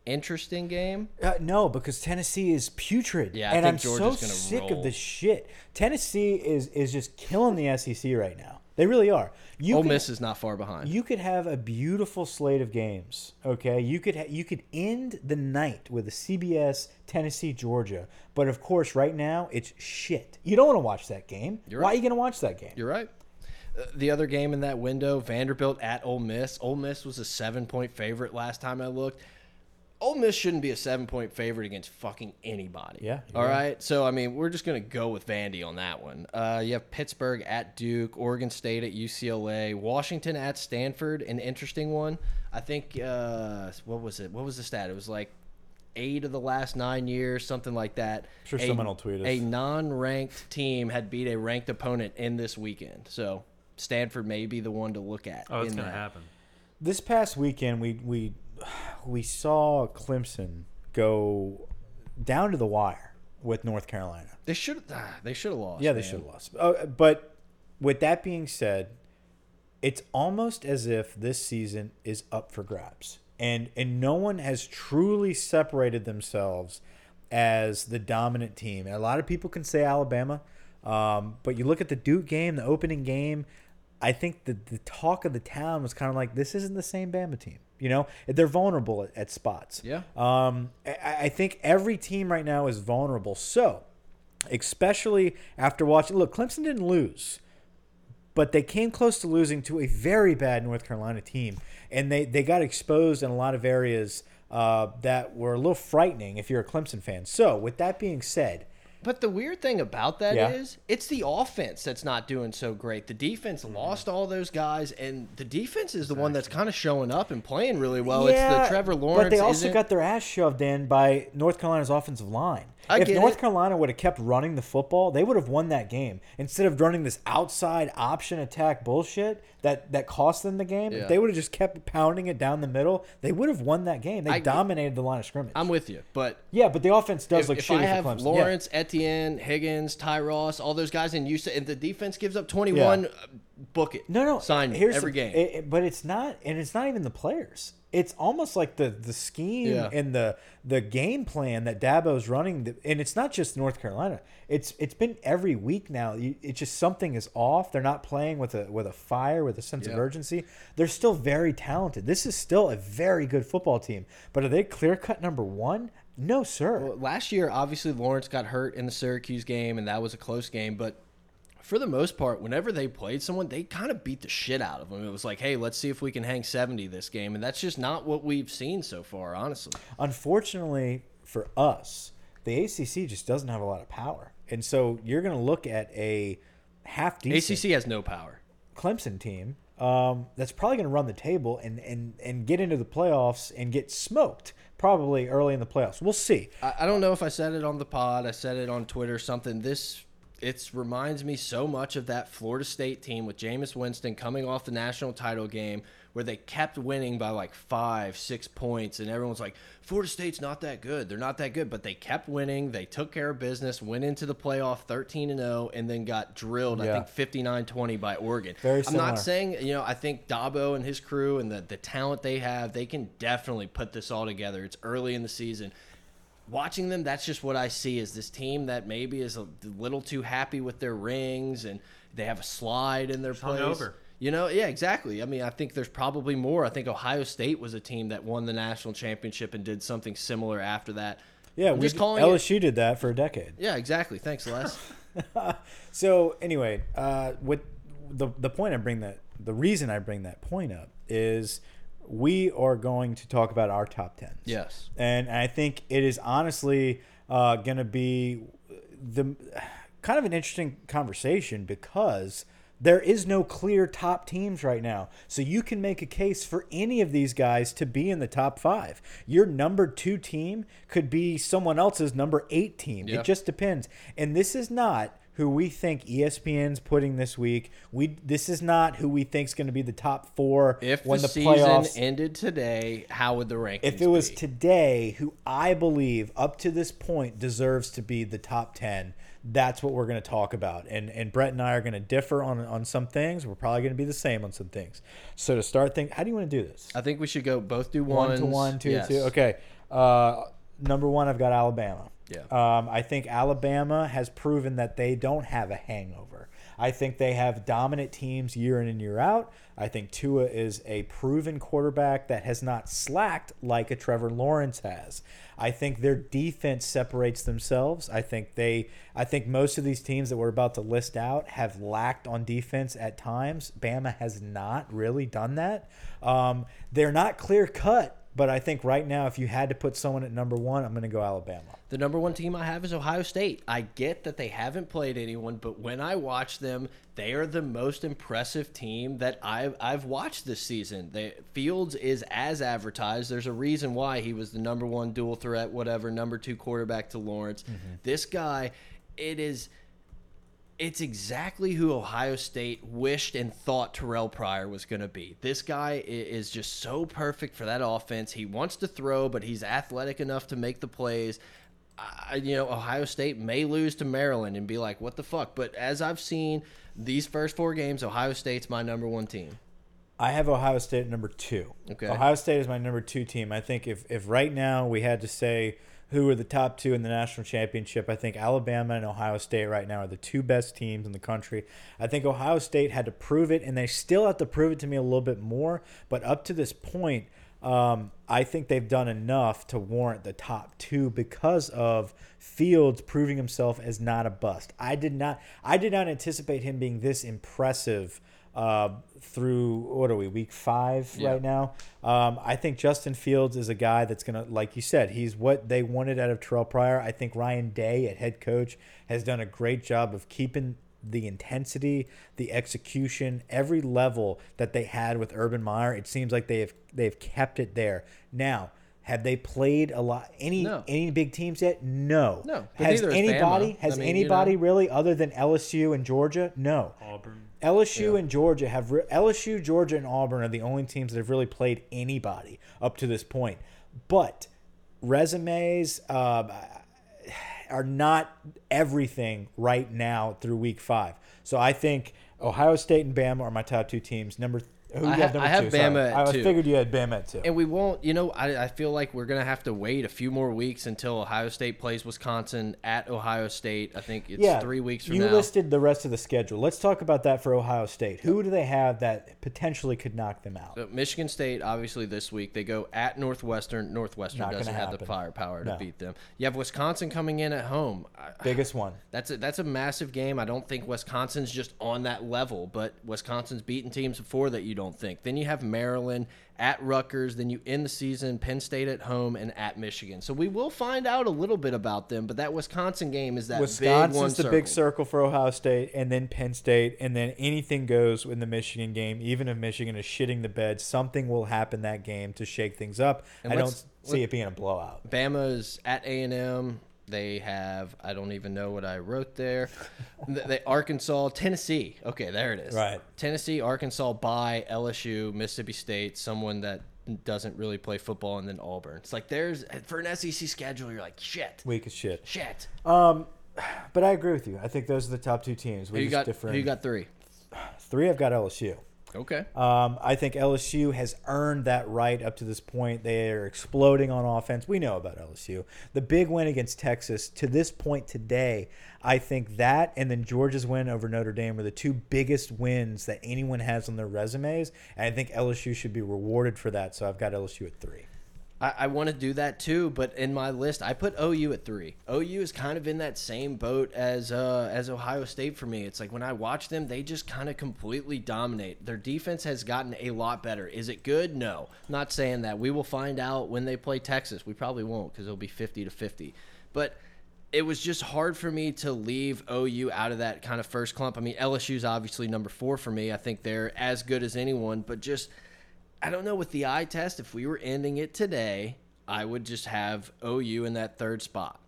[SPEAKER 2] Interesting game.
[SPEAKER 1] Uh, no, because Tennessee is putrid.
[SPEAKER 2] Yeah, I
[SPEAKER 1] and
[SPEAKER 2] think
[SPEAKER 1] I'm so
[SPEAKER 2] Georgia's gonna
[SPEAKER 1] sick
[SPEAKER 2] roll.
[SPEAKER 1] of this shit. Tennessee is is just killing the SEC right now. They really are. You
[SPEAKER 2] Ole
[SPEAKER 1] could-
[SPEAKER 2] Miss is not far behind.
[SPEAKER 1] You could have a beautiful slate of games. Okay, you could ha you could end the night with a CBS Tennessee Georgia, but of course, right now it's shit. You don't want to watch that game. Why are you going to watch that game?
[SPEAKER 2] You're right. Uh, The other game in that window, Vanderbilt at Ole Miss. Ole Miss was a seven point favorite last time I looked. Ole Miss shouldn't be a seven point favorite against fucking anybody.
[SPEAKER 1] Yeah, you're
[SPEAKER 2] All right. So, I mean, we're just going to go with Vandy on that one. Uh, you have Pittsburgh at Duke, Oregon State at UCLA, Washington at Stanford. An interesting one. I think, uh, what was it? What was the stat? It was like eight of the last nine years, something like that.
[SPEAKER 1] Sure
[SPEAKER 2] A-
[SPEAKER 1] someone will tweet us.
[SPEAKER 2] A non-ranked team had beat a ranked opponent in this weekend. So Stanford may be the one to look at.
[SPEAKER 3] oh, it's
[SPEAKER 2] in
[SPEAKER 3] gonna
[SPEAKER 2] that.
[SPEAKER 3] happen.
[SPEAKER 1] This past weekend, we we we saw Clemson go down to the wire with North Carolina.
[SPEAKER 2] They should. Ah, they should have lost.
[SPEAKER 1] Yeah, they
[SPEAKER 2] man.
[SPEAKER 1] should have lost. Uh, but with that being said, it's almost as if this season is up for grabs, and and no one has truly separated themselves as the dominant team. And a lot of people can say Alabama, um, but you look at the Duke game, the opening game. I think the the talk of the town was kind of like this isn't the same Bama team. You know, they're vulnerable at, at spots.
[SPEAKER 2] Yeah.
[SPEAKER 1] Um, I, I think every team right now is vulnerable. So, especially after watching, look, Clemson didn't lose, but they came close to losing to a very bad North Carolina team, and they they got exposed in a lot of areas uh, that were a little frightening if you're a Clemson fan. So, with that being said,
[SPEAKER 2] But the weird thing about that is,
[SPEAKER 1] Yeah.
[SPEAKER 2] it's the offense that's not doing so great. The defense
[SPEAKER 3] Mm.
[SPEAKER 2] lost all those guys, and the defense is the one that's kind of showing up and playing really well. Oh, it's the Trevor Lawrence.
[SPEAKER 1] But they also
[SPEAKER 2] isn't-
[SPEAKER 1] got their ass shoved in by North Carolina's offensive line.
[SPEAKER 2] I
[SPEAKER 1] if
[SPEAKER 2] get
[SPEAKER 1] North
[SPEAKER 2] it.
[SPEAKER 1] Carolina would have kept running the football, they would have won that game. Instead of running this outside option attack bullshit that that cost them the game,
[SPEAKER 2] Yeah.
[SPEAKER 1] if they would have just kept pounding it down the middle, they would have won that game. They
[SPEAKER 2] I get-
[SPEAKER 1] dominated the line of scrimmage.
[SPEAKER 2] I'm with you, but
[SPEAKER 1] yeah, but the offense does
[SPEAKER 2] if,
[SPEAKER 1] look
[SPEAKER 2] if
[SPEAKER 1] shitty
[SPEAKER 2] I have
[SPEAKER 1] for Clemson. Yeah.
[SPEAKER 2] Lawrence, Etienne, Higgins, Ty Ross, all those guys, and you say, and the defense gives up 21,
[SPEAKER 1] Yeah.
[SPEAKER 2] uh, book it.
[SPEAKER 1] No, no.
[SPEAKER 2] sign me
[SPEAKER 1] here's
[SPEAKER 2] every
[SPEAKER 1] the-
[SPEAKER 2] game.
[SPEAKER 1] it- it- but it's not, and it's not even the players. It's almost like the the scheme
[SPEAKER 2] Yeah.
[SPEAKER 1] and the the game plan that Dabo's running, the, and it's not just North Carolina. It's it's been every week now. You, it's just something is off. They're not playing with a with a fire, with a sense of
[SPEAKER 2] Yeah.
[SPEAKER 1] urgency. They're still very talented. This is still a very good football team. But are they clear cut number one? No, sir.
[SPEAKER 2] Well, last year, obviously Lawrence got hurt in the Syracuse game, and that was a close game. But for the most part, whenever they played someone, they kind of beat the shit out of them. It was like, hey, let's see if we can hang seventy this game, and that's just not what we've seen so far, honestly.
[SPEAKER 1] Unfortunately for us, the ACC just doesn't have a lot of power, and so you're going to look at a half decent
[SPEAKER 2] ACC has no power.
[SPEAKER 1] Clemson team um, that's probably going to run the table and, and and get into the playoffs and get smoked probably early in the playoffs. We'll see.
[SPEAKER 2] I, I don't know if I said it on the pod. I said it on Twitter. Something. This it's reminds me so much of that Florida State team with Jameis Winston coming off the national title game where they kept winning by like five, six points, and everyone's like, Florida State's not that good. They're not that good, but they kept winning. They took care of business, went into the playoff 13 and 0, and then got drilled.
[SPEAKER 1] Yeah.
[SPEAKER 2] I think 59 20 by Oregon.
[SPEAKER 1] Very
[SPEAKER 2] I'm
[SPEAKER 1] similar.
[SPEAKER 2] not saying you know I think Dabo and his crew and the the talent they have, they can definitely put this all together. It's early in the season watching them, that's just what I see is this team that maybe is a little too happy with their rings and they have a slide in their place.
[SPEAKER 3] hungover.
[SPEAKER 2] You know, yeah, exactly. I mean, I think there's probably more. I think Ohio State was a team that won the national championship and did something similar after that.
[SPEAKER 1] Yeah,
[SPEAKER 2] I'm
[SPEAKER 1] we
[SPEAKER 2] just
[SPEAKER 1] did-
[SPEAKER 2] calling it.
[SPEAKER 1] LSU did that for a decade.
[SPEAKER 2] Yeah, exactly. Thanks, Les.
[SPEAKER 1] So anyway, uh, with the the point I bring that the reason I bring that point up is we are going to talk about our top tens.
[SPEAKER 2] yes.
[SPEAKER 1] and I think it is honestly uh, going to be the kind of an interesting conversation because there is no clear top teams right now. So you can make a case for any of these guys to be in the top five. Your number two team could be someone else's number eight team.
[SPEAKER 2] Yeah.
[SPEAKER 1] It just depends. And this is not who we think E ESPN's putting this week. We this is not who we think's going to be the top four
[SPEAKER 2] If
[SPEAKER 1] when
[SPEAKER 2] the,
[SPEAKER 1] the
[SPEAKER 2] season
[SPEAKER 1] playoffs
[SPEAKER 2] ended today, how would the rankings
[SPEAKER 1] if it was
[SPEAKER 2] be?
[SPEAKER 1] today, who I believe up to this point deserves to be the top ten, that's what we're going to talk about. And and Brett and I are going to differ on on some things. We're probably going to be the same on some things. So to start, think how do you want to do this?
[SPEAKER 2] I think we should go both do
[SPEAKER 1] One
[SPEAKER 2] ones.
[SPEAKER 1] to one, two
[SPEAKER 2] Yes.
[SPEAKER 1] to two. Okay. Uh, number one, I've got Alabama.
[SPEAKER 2] Yeah.
[SPEAKER 1] Um, I think Alabama has proven that they don't have a hangover. I think they have dominant teams year in and year out. I think Tua is a proven quarterback that has not slacked like a Trevor Lawrence has. I think their defense separates themselves. I think they I think most of these teams that we're about to list out have lacked on defense at times. Bama has not really done that. Um, they're not clear cut, but I think right now if you had to put someone at number 1, I'm going to go Alabama.
[SPEAKER 2] The number one team I have is Ohio State. I get that they haven't played anyone, but when I watch them, they are the most impressive team that I've, I've watched this season. They, Fields is as advertised. There's a reason why he was the number one dual threat, whatever, number two quarterback to Lawrence.
[SPEAKER 1] Mm-hmm.
[SPEAKER 2] This guy, it is it's exactly who Ohio State wished and thought Terrell Pryor was going to be. This guy i- is just so perfect for that offense. He wants to throw, but he's athletic enough to make the plays. I, you know, Ohio State may lose to Maryland and be like, "What the fuck?" But as I've seen these first four games, Ohio State's my number one team.
[SPEAKER 1] I have Ohio State at number two.
[SPEAKER 2] Okay.
[SPEAKER 1] Ohio State is my number two team. I think if, if right now we had to say who are the top two in the national championship, I think Alabama and Ohio State right now are the two best teams in the country. I think Ohio State had to prove it, and they still have to prove it to me a little bit more. But up to this point, um, I think they've done enough to warrant the top two because of Fields proving himself as not a bust. I did not, I did not anticipate him being this impressive uh, through what are we week five right now? Um, I think Justin Fields is a guy that's gonna, like you said, he's what they wanted out of Terrell Pryor. I think Ryan Day at head coach has done a great job of keeping the intensity, the execution, every level that they had with Urban Meyer. It seems like they have they've kept it there. Now, have they played a lot any
[SPEAKER 2] No.
[SPEAKER 1] any big teams yet? No.
[SPEAKER 2] No, but
[SPEAKER 1] Has
[SPEAKER 2] neither has Bama.
[SPEAKER 1] anybody has
[SPEAKER 2] I mean, you know.
[SPEAKER 1] anybody really other than LSU and Georgia? No.
[SPEAKER 3] Auburn.
[SPEAKER 1] LSU and Georgia have re- LSU, Georgia, and Auburn are the only teams that have really played anybody up to this point. But resumes uh, [sighs] are not everything right now through week five. So I think Ohio State and Bama are my top two teams. Number who do you
[SPEAKER 2] I
[SPEAKER 1] have
[SPEAKER 2] ha-
[SPEAKER 1] number
[SPEAKER 2] I have
[SPEAKER 1] two? Sorry.
[SPEAKER 2] Bama at
[SPEAKER 1] I
[SPEAKER 2] two.
[SPEAKER 1] figured you had Bama at two.
[SPEAKER 2] And we won't, you know, I, I feel like we're going to have to wait a few more weeks until Ohio State plays Wisconsin at Ohio State. I think it's three weeks from
[SPEAKER 1] you
[SPEAKER 2] now.
[SPEAKER 1] listed the rest of the schedule. Let's talk about that for Ohio State. Who do they have that potentially could knock them out?
[SPEAKER 2] But Michigan State, obviously, this week they go at Northwestern. Northwestern
[SPEAKER 1] Not gonna
[SPEAKER 2] doesn't have the
[SPEAKER 1] happen.
[SPEAKER 2] firepower to
[SPEAKER 1] No.
[SPEAKER 2] beat them. You have Wisconsin coming in at home. I,
[SPEAKER 1] Biggest one.
[SPEAKER 2] that's a, that's a massive game. I don't think Wisconsin's just on that level, but Wisconsin's beaten teams before that you don't think. Then you have Maryland at Rutgers. Then you end the season Penn State at home and at Michigan. So we will find out a little bit about them. But that Wisconsin game is that big one
[SPEAKER 1] Wisconsin's the big
[SPEAKER 2] circled.
[SPEAKER 1] circle for Ohio State, and then Penn State, and then anything goes in the Michigan game. Even if Michigan is shitting the bed, something will happen that game to shake things up.
[SPEAKER 2] And
[SPEAKER 1] I don't
[SPEAKER 2] let's-
[SPEAKER 1] see it being a blowout.
[SPEAKER 2] Bama's at A and M. They have I don't even know what I
[SPEAKER 1] [laughs]
[SPEAKER 2] wrote there. Th- they Arkansas, Tennessee. Okay, there it is.
[SPEAKER 1] Right.
[SPEAKER 2] Tennessee, Arkansas by LSU, Mississippi State, someone that doesn't really play football, and then Auburn. It's like there's for an SEC schedule, you're like shit,
[SPEAKER 1] Weak as shit.
[SPEAKER 2] shit.
[SPEAKER 1] Um, but I agree with you. I think those are the top two teams. We
[SPEAKER 2] Who you
[SPEAKER 1] just
[SPEAKER 2] got?
[SPEAKER 1] differ
[SPEAKER 2] Who you
[SPEAKER 1] in-
[SPEAKER 2] got three?
[SPEAKER 1] Three. I've got LSU.
[SPEAKER 2] Okay.
[SPEAKER 1] Um, I think LSU has earned that right up to this point. They are exploding on offense. We know about LSU. The big win against Texas to this point today, I think that and then Georgia's win over Notre Dame are the two biggest wins that anyone has on their resumes. And I think LSU should be rewarded for that. So I've got LSU at three.
[SPEAKER 2] I, I want to do that too, but in my list, I put OU at three. OU is kind of in that same boat as uh, as Ohio State for me. It's like when I watch them, they just kind of completely dominate. Their defense has gotten a lot better. Is it good? No, not saying that. We will find out when they play Texas. We probably won't because it'll be fifty to fifty. But it was just hard for me to leave OU out of that kind of first clump. I mean, LSU's obviously number four for me. I think they're as good as anyone, but just I don't know with the eye test. If we were ending it today, I would just have OU in that third spot.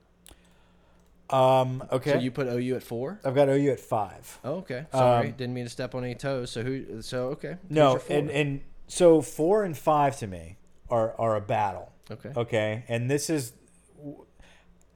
[SPEAKER 1] Um, okay.
[SPEAKER 2] So you put OU at four.
[SPEAKER 1] I've got OU at five.
[SPEAKER 2] Oh, okay, sorry, didn't mean to step on any toes. So who? So okay. Who's your
[SPEAKER 1] No,
[SPEAKER 2] four?
[SPEAKER 1] and and so four and five to me are are a battle.
[SPEAKER 2] Okay.
[SPEAKER 1] Okay, and this is.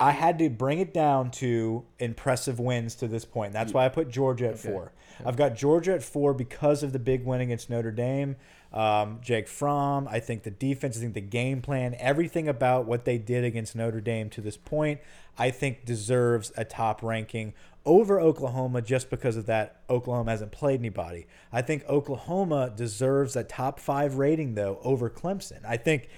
[SPEAKER 1] I had to bring it down to impressive wins to this point. That's why I put Georgia at four. I've got Georgia at four because of the big win against Notre Dame. Um, Jake Fromm. I think the defense. I think the game plan. Everything about what they did against Notre Dame to this point, I think deserves a top ranking over Oklahoma just because of that. Oklahoma hasn't played anybody. I think Oklahoma deserves a top five rating though over Clemson. I think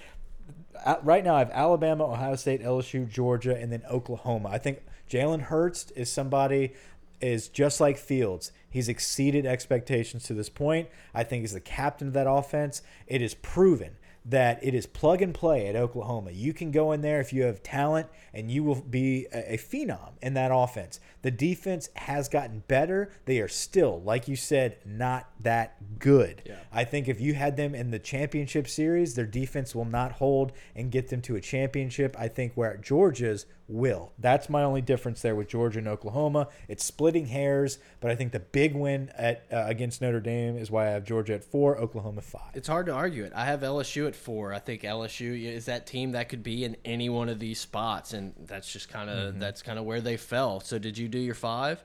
[SPEAKER 1] uh, right now I have Alabama, Ohio State, LSU, Georgia, and then Oklahoma. I think Jalen Hurts is somebody is just like Fields. He's exceeded expectations to this point. I think he's the captain of that offense. It is proven that it is plug and play at Oklahoma. You can go in there if you have talent and you will be a, a phenom in that offense. The defense has gotten better. They are still, like you said, not that good. I think if you had them in the championship series, their defense will not hold and get them to a championship. I think where Georgia's will. That's my only difference there with Georgia and Oklahoma. It's splitting hairs, but I think the big win at uh, against Notre Dame is why I have Georgia at four, Oklahoma five.
[SPEAKER 2] It's hard to argue it. I have LSU at four. I think LSU is that team that could be in any one of these spots, and that's just kind of
[SPEAKER 1] Mm-hmm.
[SPEAKER 2] that's kind of where they fell. So did you do your five?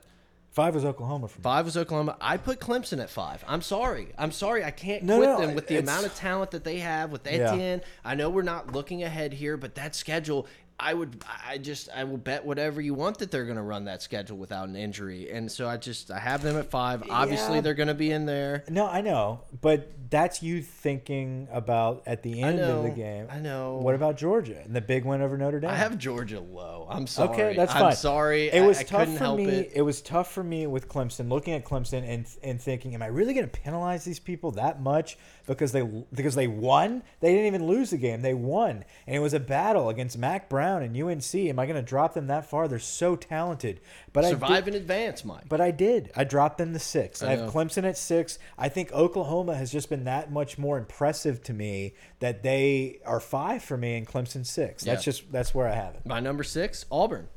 [SPEAKER 1] Five was Oklahoma for me.
[SPEAKER 2] Five was Oklahoma. I put Clemson at five. I'm sorry. I'm sorry. I can't
[SPEAKER 1] No,
[SPEAKER 2] quit
[SPEAKER 1] no,
[SPEAKER 2] them with the
[SPEAKER 1] it's-
[SPEAKER 2] amount of talent that they have with Etienne. I know we're not looking ahead here, but that schedule, I would, I just, I will bet whatever you want that they're going to run that schedule without an injury. And so I just, I have them at five. Obviously,
[SPEAKER 1] Yeah.
[SPEAKER 2] they're going to be in there.
[SPEAKER 1] No, I know, but that's you thinking about at the end of the
[SPEAKER 2] know,
[SPEAKER 1] game.
[SPEAKER 2] I know.
[SPEAKER 1] What about Georgia and the big win over Notre Dame?
[SPEAKER 2] I have Georgia low. I'm sorry.
[SPEAKER 1] okay, that's
[SPEAKER 2] I'm
[SPEAKER 1] fine.
[SPEAKER 2] sorry.
[SPEAKER 1] It was
[SPEAKER 2] I, I
[SPEAKER 1] tough
[SPEAKER 2] couldn't
[SPEAKER 1] for
[SPEAKER 2] help
[SPEAKER 1] me.
[SPEAKER 2] it.
[SPEAKER 1] was tough for me with Clemson, looking at Clemson and and thinking, am I really going to penalize these people that much because they because they won? They didn't even lose the game. They won, and it was a battle against Mac Brown and UNC. Am I going to drop them that far? They're so talented, but I did-
[SPEAKER 2] Survive in advance, Mike.
[SPEAKER 1] but I did. I dropped them to six. I,
[SPEAKER 2] know.
[SPEAKER 1] have Clemson at six. I think Oklahoma has just been that much more impressive to me that they are five for me and Clemson six. That's
[SPEAKER 2] Yeah.
[SPEAKER 1] just that's where I have it.
[SPEAKER 2] My number six, Auburn.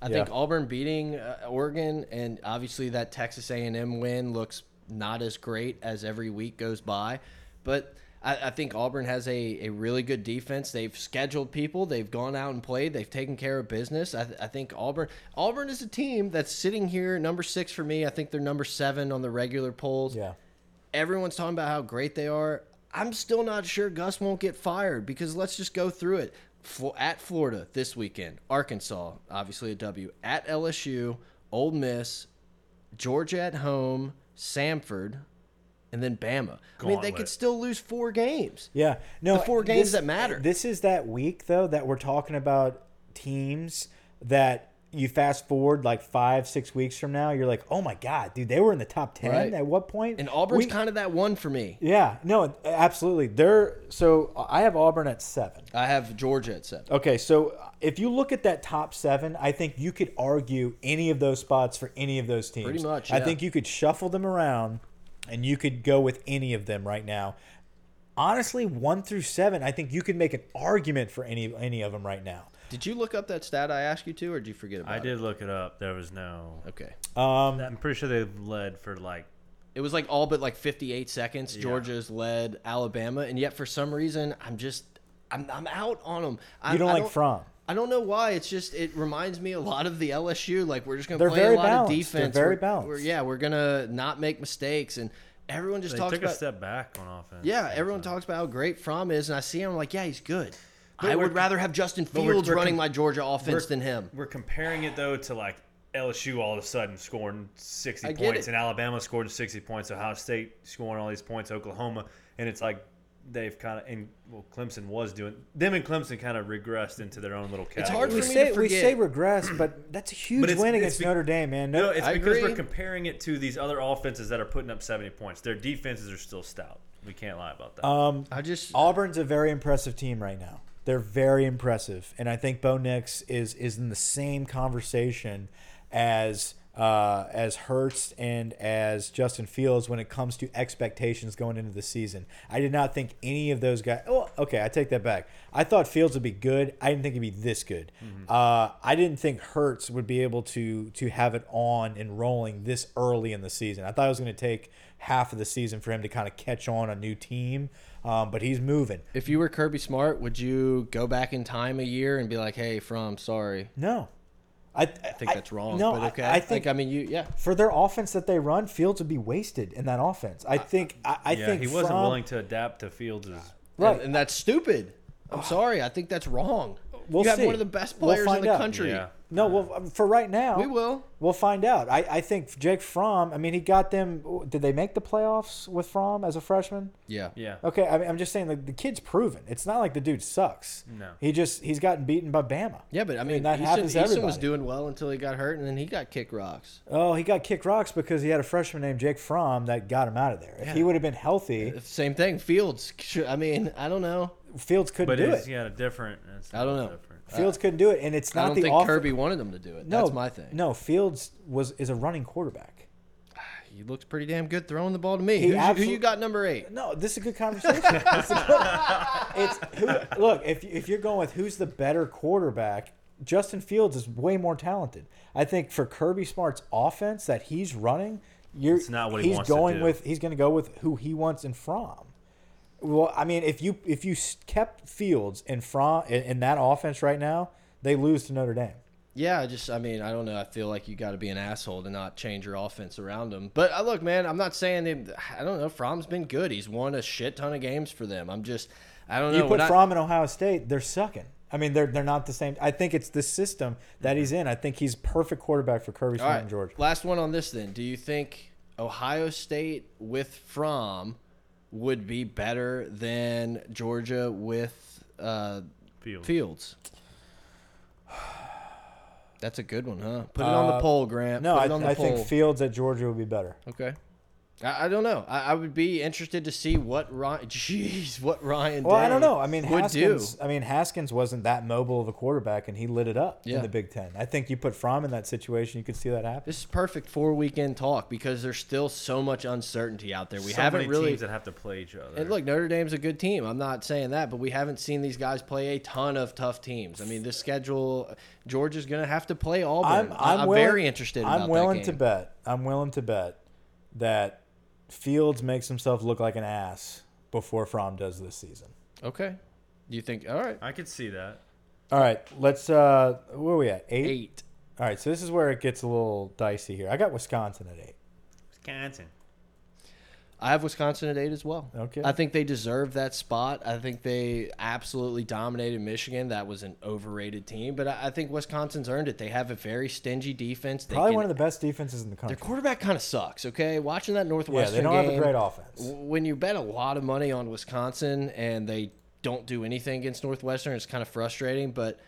[SPEAKER 2] I think
[SPEAKER 1] Yeah.
[SPEAKER 2] Auburn beating uh, Oregon and obviously that Texas A&M win looks not as great as every week goes by, but I, I think Auburn has a, a really good defense. They've scheduled people. They've gone out and played. They've taken care of business. I, I think Auburn Auburn is a team that's sitting here number six for me. I think they're number seven on the regular polls
[SPEAKER 1] Yeah.
[SPEAKER 2] everyone's talking about how great they are. I'm still not sure Gus won't get fired because let's just go through it. Flo at Florida this weekend, Arkansas, obviously a W. At LSU, Old Miss, Georgia at home, Samford, and then Bama. I mean, they could
[SPEAKER 3] Gauntlet.
[SPEAKER 2] still lose four games.
[SPEAKER 1] Yeah. No.
[SPEAKER 2] The four games
[SPEAKER 1] this-
[SPEAKER 2] that matter.
[SPEAKER 1] This is that week though that we're talking about teams that you fast forward like five, six weeks from now, you're like, oh my god, dude, they were in the top ten
[SPEAKER 2] Right.
[SPEAKER 1] at what point?
[SPEAKER 2] And Auburn's
[SPEAKER 1] We-
[SPEAKER 2] kind of that one for me.
[SPEAKER 1] yeah, no, absolutely. They're so I have Auburn at seven.
[SPEAKER 2] I have Georgia at seven.
[SPEAKER 1] Okay, so uh, if you look at that top seven, I think you could argue any of those spots for any of those teams.
[SPEAKER 2] Pretty much,
[SPEAKER 1] I
[SPEAKER 2] yeah.
[SPEAKER 1] think you could shuffle them around, and you could go with any of them right now. Honestly, one through seven, I think you could make an argument for any any of them right now.
[SPEAKER 2] Did you look up that stat I asked you to, or did you forget about
[SPEAKER 3] I
[SPEAKER 2] it?
[SPEAKER 3] did look it up. There was no.
[SPEAKER 2] Okay.
[SPEAKER 1] Um,
[SPEAKER 3] I'm pretty sure they led for like.
[SPEAKER 2] It was like all but like 58 seconds. Georgia's led Alabama, and yet for some reason, I'm just I'm I'm out on them. I,
[SPEAKER 1] you don't
[SPEAKER 2] I
[SPEAKER 1] like Fromm.
[SPEAKER 2] I don't know why. It's just it reminds me a lot of the LSU. Like we're just gonna
[SPEAKER 1] They're
[SPEAKER 2] play
[SPEAKER 1] very
[SPEAKER 2] a lot
[SPEAKER 1] balanced.
[SPEAKER 2] of
[SPEAKER 1] They're
[SPEAKER 2] defense.
[SPEAKER 1] very
[SPEAKER 2] We're-
[SPEAKER 1] balanced.
[SPEAKER 2] we're- yeah, we're gonna not make mistakes, and everyone just
[SPEAKER 3] They
[SPEAKER 2] talks
[SPEAKER 3] took
[SPEAKER 2] about
[SPEAKER 3] a step back on offense.
[SPEAKER 2] yeah. Everyone talks about how great Fromm is, and I see him I'm like yeah, he's good. I
[SPEAKER 3] we're-
[SPEAKER 2] would rather have Justin
[SPEAKER 3] we're-
[SPEAKER 2] Fields
[SPEAKER 3] we're
[SPEAKER 2] running
[SPEAKER 3] com-
[SPEAKER 2] my Georgia offense
[SPEAKER 3] we're-
[SPEAKER 2] than him.
[SPEAKER 3] We're comparing it though to like LSU all of a sudden scoring 60
[SPEAKER 2] I get
[SPEAKER 3] points
[SPEAKER 2] it.
[SPEAKER 3] and Alabama scored 60 points, Ohio State scoring all these points, Oklahoma, and it's like they've kind of and well Clemson was doing them and Clemson kind of regressed into their own little category.
[SPEAKER 2] It's hard
[SPEAKER 1] We
[SPEAKER 2] for me
[SPEAKER 1] say
[SPEAKER 2] to
[SPEAKER 1] we
[SPEAKER 2] forget.
[SPEAKER 1] say regress, but that's a huge
[SPEAKER 3] it's-
[SPEAKER 1] win
[SPEAKER 3] it's
[SPEAKER 1] against
[SPEAKER 3] be-
[SPEAKER 1] Notre Dame, man. No,
[SPEAKER 3] no, it's
[SPEAKER 2] I
[SPEAKER 3] because
[SPEAKER 2] agree.
[SPEAKER 3] we're comparing it to these other offenses that are putting up 70 points. Their defenses are still stout. We can't lie about that.
[SPEAKER 1] um,
[SPEAKER 2] I just
[SPEAKER 1] Auburn's a very impressive team right now. They're very impressive, and I think Bo Nix is is in the same conversation as uh, as Hertz and as Justin Fields when it comes to expectations going into the season. I did not think any of those guys. Well, okay, I take that back. I thought Fields would be good. I didn't think he'd be this good. Uh, I didn't think Hertz would be able to to have it on and rolling this early in the season. I thought it was going to take half of the season for him to kind of catch on a new team, um, but he's moving.
[SPEAKER 2] If you were Kirby Smart, would you go back in time a year and be like, "Hey, from sorry,
[SPEAKER 1] No, I, I
[SPEAKER 2] I think that's wrong"?
[SPEAKER 1] no,
[SPEAKER 2] but
[SPEAKER 1] I-
[SPEAKER 2] okay.
[SPEAKER 1] I, think
[SPEAKER 2] Like, I mean, you yeah.
[SPEAKER 1] for their offense that they run, Fields would be wasted in that offense. I think. I, I
[SPEAKER 3] yeah,
[SPEAKER 1] think
[SPEAKER 3] he wasn't
[SPEAKER 1] Fromm-
[SPEAKER 3] willing to adapt to Fields'
[SPEAKER 1] Right.
[SPEAKER 2] and, and that's stupid. I'm sorry. I think that's wrong.
[SPEAKER 1] We'll
[SPEAKER 2] you have
[SPEAKER 1] see.
[SPEAKER 2] one of the best
[SPEAKER 1] We'll
[SPEAKER 2] players in
[SPEAKER 1] find
[SPEAKER 2] the
[SPEAKER 1] out.
[SPEAKER 2] country.
[SPEAKER 3] Yeah.
[SPEAKER 1] No, well, um, for right now,
[SPEAKER 2] We will.
[SPEAKER 1] We'll find out. I, I think Jake Fromm. I mean, he got them. Did they make the playoffs with Fromm as a freshman?
[SPEAKER 2] Yeah.
[SPEAKER 3] Yeah.
[SPEAKER 1] Okay, I mean, I'm just saying like, the kid's proven. It's not like the dude sucks.
[SPEAKER 3] No.
[SPEAKER 1] he just he's gotten beaten by Bama.
[SPEAKER 2] Yeah, but I mean,
[SPEAKER 1] that
[SPEAKER 2] Easton,
[SPEAKER 1] happens to
[SPEAKER 2] Easton was
[SPEAKER 1] everybody.
[SPEAKER 2] doing well until he got hurt, and then he got kick rocks.
[SPEAKER 1] Oh, he got kicked rocks because he had a freshman named Jake Fromm that got him out of there. If he would have been healthy,
[SPEAKER 2] Same thing. Fields. should- I mean, I don't know.
[SPEAKER 1] Fields couldn't
[SPEAKER 3] But
[SPEAKER 1] do
[SPEAKER 3] it's
[SPEAKER 1] it.
[SPEAKER 3] yeah, different. It's
[SPEAKER 2] I don't
[SPEAKER 3] not
[SPEAKER 2] know.
[SPEAKER 3] Different.
[SPEAKER 1] Fields couldn't do it, and it's
[SPEAKER 2] Uh, I
[SPEAKER 1] not
[SPEAKER 2] don't
[SPEAKER 1] the
[SPEAKER 2] think
[SPEAKER 1] off-
[SPEAKER 2] Kirby wanted him to do it.
[SPEAKER 1] No,
[SPEAKER 2] that's my thing.
[SPEAKER 1] No, Fields was is a running quarterback.
[SPEAKER 2] He looks pretty damn good throwing the ball to me.
[SPEAKER 1] He
[SPEAKER 2] Who's- who
[SPEAKER 1] absolute-
[SPEAKER 2] you got number eight?
[SPEAKER 1] No, this is a good [laughs] conversation. It's a good- it's who, look if if you're going with who's the better quarterback, Justin Fields is way more talented. I think for Kirby Smart's offense that he's running, you're
[SPEAKER 3] It's not what he
[SPEAKER 1] he's
[SPEAKER 3] wants to
[SPEAKER 1] going
[SPEAKER 3] do.
[SPEAKER 1] with. He's going to go with who he wants and from. Well, I mean, if you if you s- kept Fields and from in, in that offense right now, they lose to Notre Dame.
[SPEAKER 2] Yeah, I just, I mean, I don't know. I feel like you got to be an asshole to not change your offense around them. But uh, look, man, I'm not saying him. I don't know. Fromm's been good. He's won a shit ton of games for them. I'm just, I don't
[SPEAKER 1] You
[SPEAKER 2] know.
[SPEAKER 1] put
[SPEAKER 2] when I-
[SPEAKER 1] Fromm in Ohio State, they're sucking. I mean, they're they're not the same. I think it's the system that he's in. I think he's perfect quarterback for Kirby
[SPEAKER 2] Mm-hmm. All
[SPEAKER 1] Smart
[SPEAKER 2] right,
[SPEAKER 1] and Georgia.
[SPEAKER 2] Last one on this then. Do you think Ohio State with Fromm would be better than Georgia with uh,
[SPEAKER 3] Fields.
[SPEAKER 2] Fields? [sighs] That's a good one, huh? Put it on the
[SPEAKER 1] Uh,
[SPEAKER 2] poll, Grant.
[SPEAKER 1] No,
[SPEAKER 2] Put
[SPEAKER 1] I,
[SPEAKER 2] it on the
[SPEAKER 1] I
[SPEAKER 2] poll.
[SPEAKER 1] think Fields at Georgia would be better.
[SPEAKER 2] Okay. I, I don't know. I, I would be interested to see what Ryan. [laughs] Jeez, what Ryan.
[SPEAKER 1] Well, I
[SPEAKER 2] Day
[SPEAKER 1] don't know. I mean,
[SPEAKER 2] would
[SPEAKER 1] Haskins.
[SPEAKER 2] do.
[SPEAKER 1] I mean, Haskins wasn't that mobile of a quarterback, and he lit it up
[SPEAKER 2] Yeah.
[SPEAKER 1] in the Big Ten. I think you put Fromm in that situation, you could see that happen.
[SPEAKER 2] This is perfect for weekend talk because there's still so much uncertainty out there. We
[SPEAKER 3] so
[SPEAKER 2] haven't
[SPEAKER 3] many
[SPEAKER 2] really
[SPEAKER 3] teams that have to play each other.
[SPEAKER 2] And look, Notre Dame's a good team. I'm not saying that, but we haven't seen these guys play a ton of tough teams. I mean, this schedule, Georgia's going to have to play
[SPEAKER 1] I'm,
[SPEAKER 2] Auburn.
[SPEAKER 1] I'm,
[SPEAKER 2] I'm
[SPEAKER 1] willing,
[SPEAKER 2] very interested. About
[SPEAKER 1] I'm willing
[SPEAKER 2] that
[SPEAKER 1] to
[SPEAKER 2] game.
[SPEAKER 1] bet. I'm willing to bet that Fields makes himself look like an ass before Fromm does this season.
[SPEAKER 2] Okay. You think? All right.
[SPEAKER 3] I could see that.
[SPEAKER 1] All right, let's. Uh, where are we at? Eight?
[SPEAKER 2] Eight.
[SPEAKER 1] All right, so this is where it gets a little dicey here. I got Wisconsin at eight.
[SPEAKER 3] Wisconsin.
[SPEAKER 2] I have Wisconsin at eight as well.
[SPEAKER 1] Okay.
[SPEAKER 2] I think they deserve that spot. I think they absolutely dominated Michigan. That was an overrated team, but I, I think Wisconsin's earned it. They have a very stingy defense. They
[SPEAKER 1] Probably
[SPEAKER 2] can-
[SPEAKER 1] one of the best defenses in the country.
[SPEAKER 2] Their quarterback kind of sucks. Okay, watching that
[SPEAKER 1] Yeah,
[SPEAKER 2] Northwestern
[SPEAKER 1] they don't have a
[SPEAKER 2] game,
[SPEAKER 1] great offense.
[SPEAKER 2] w- when you bet a lot of money on Wisconsin and they don't do anything against Northwestern, it's kind of frustrating. But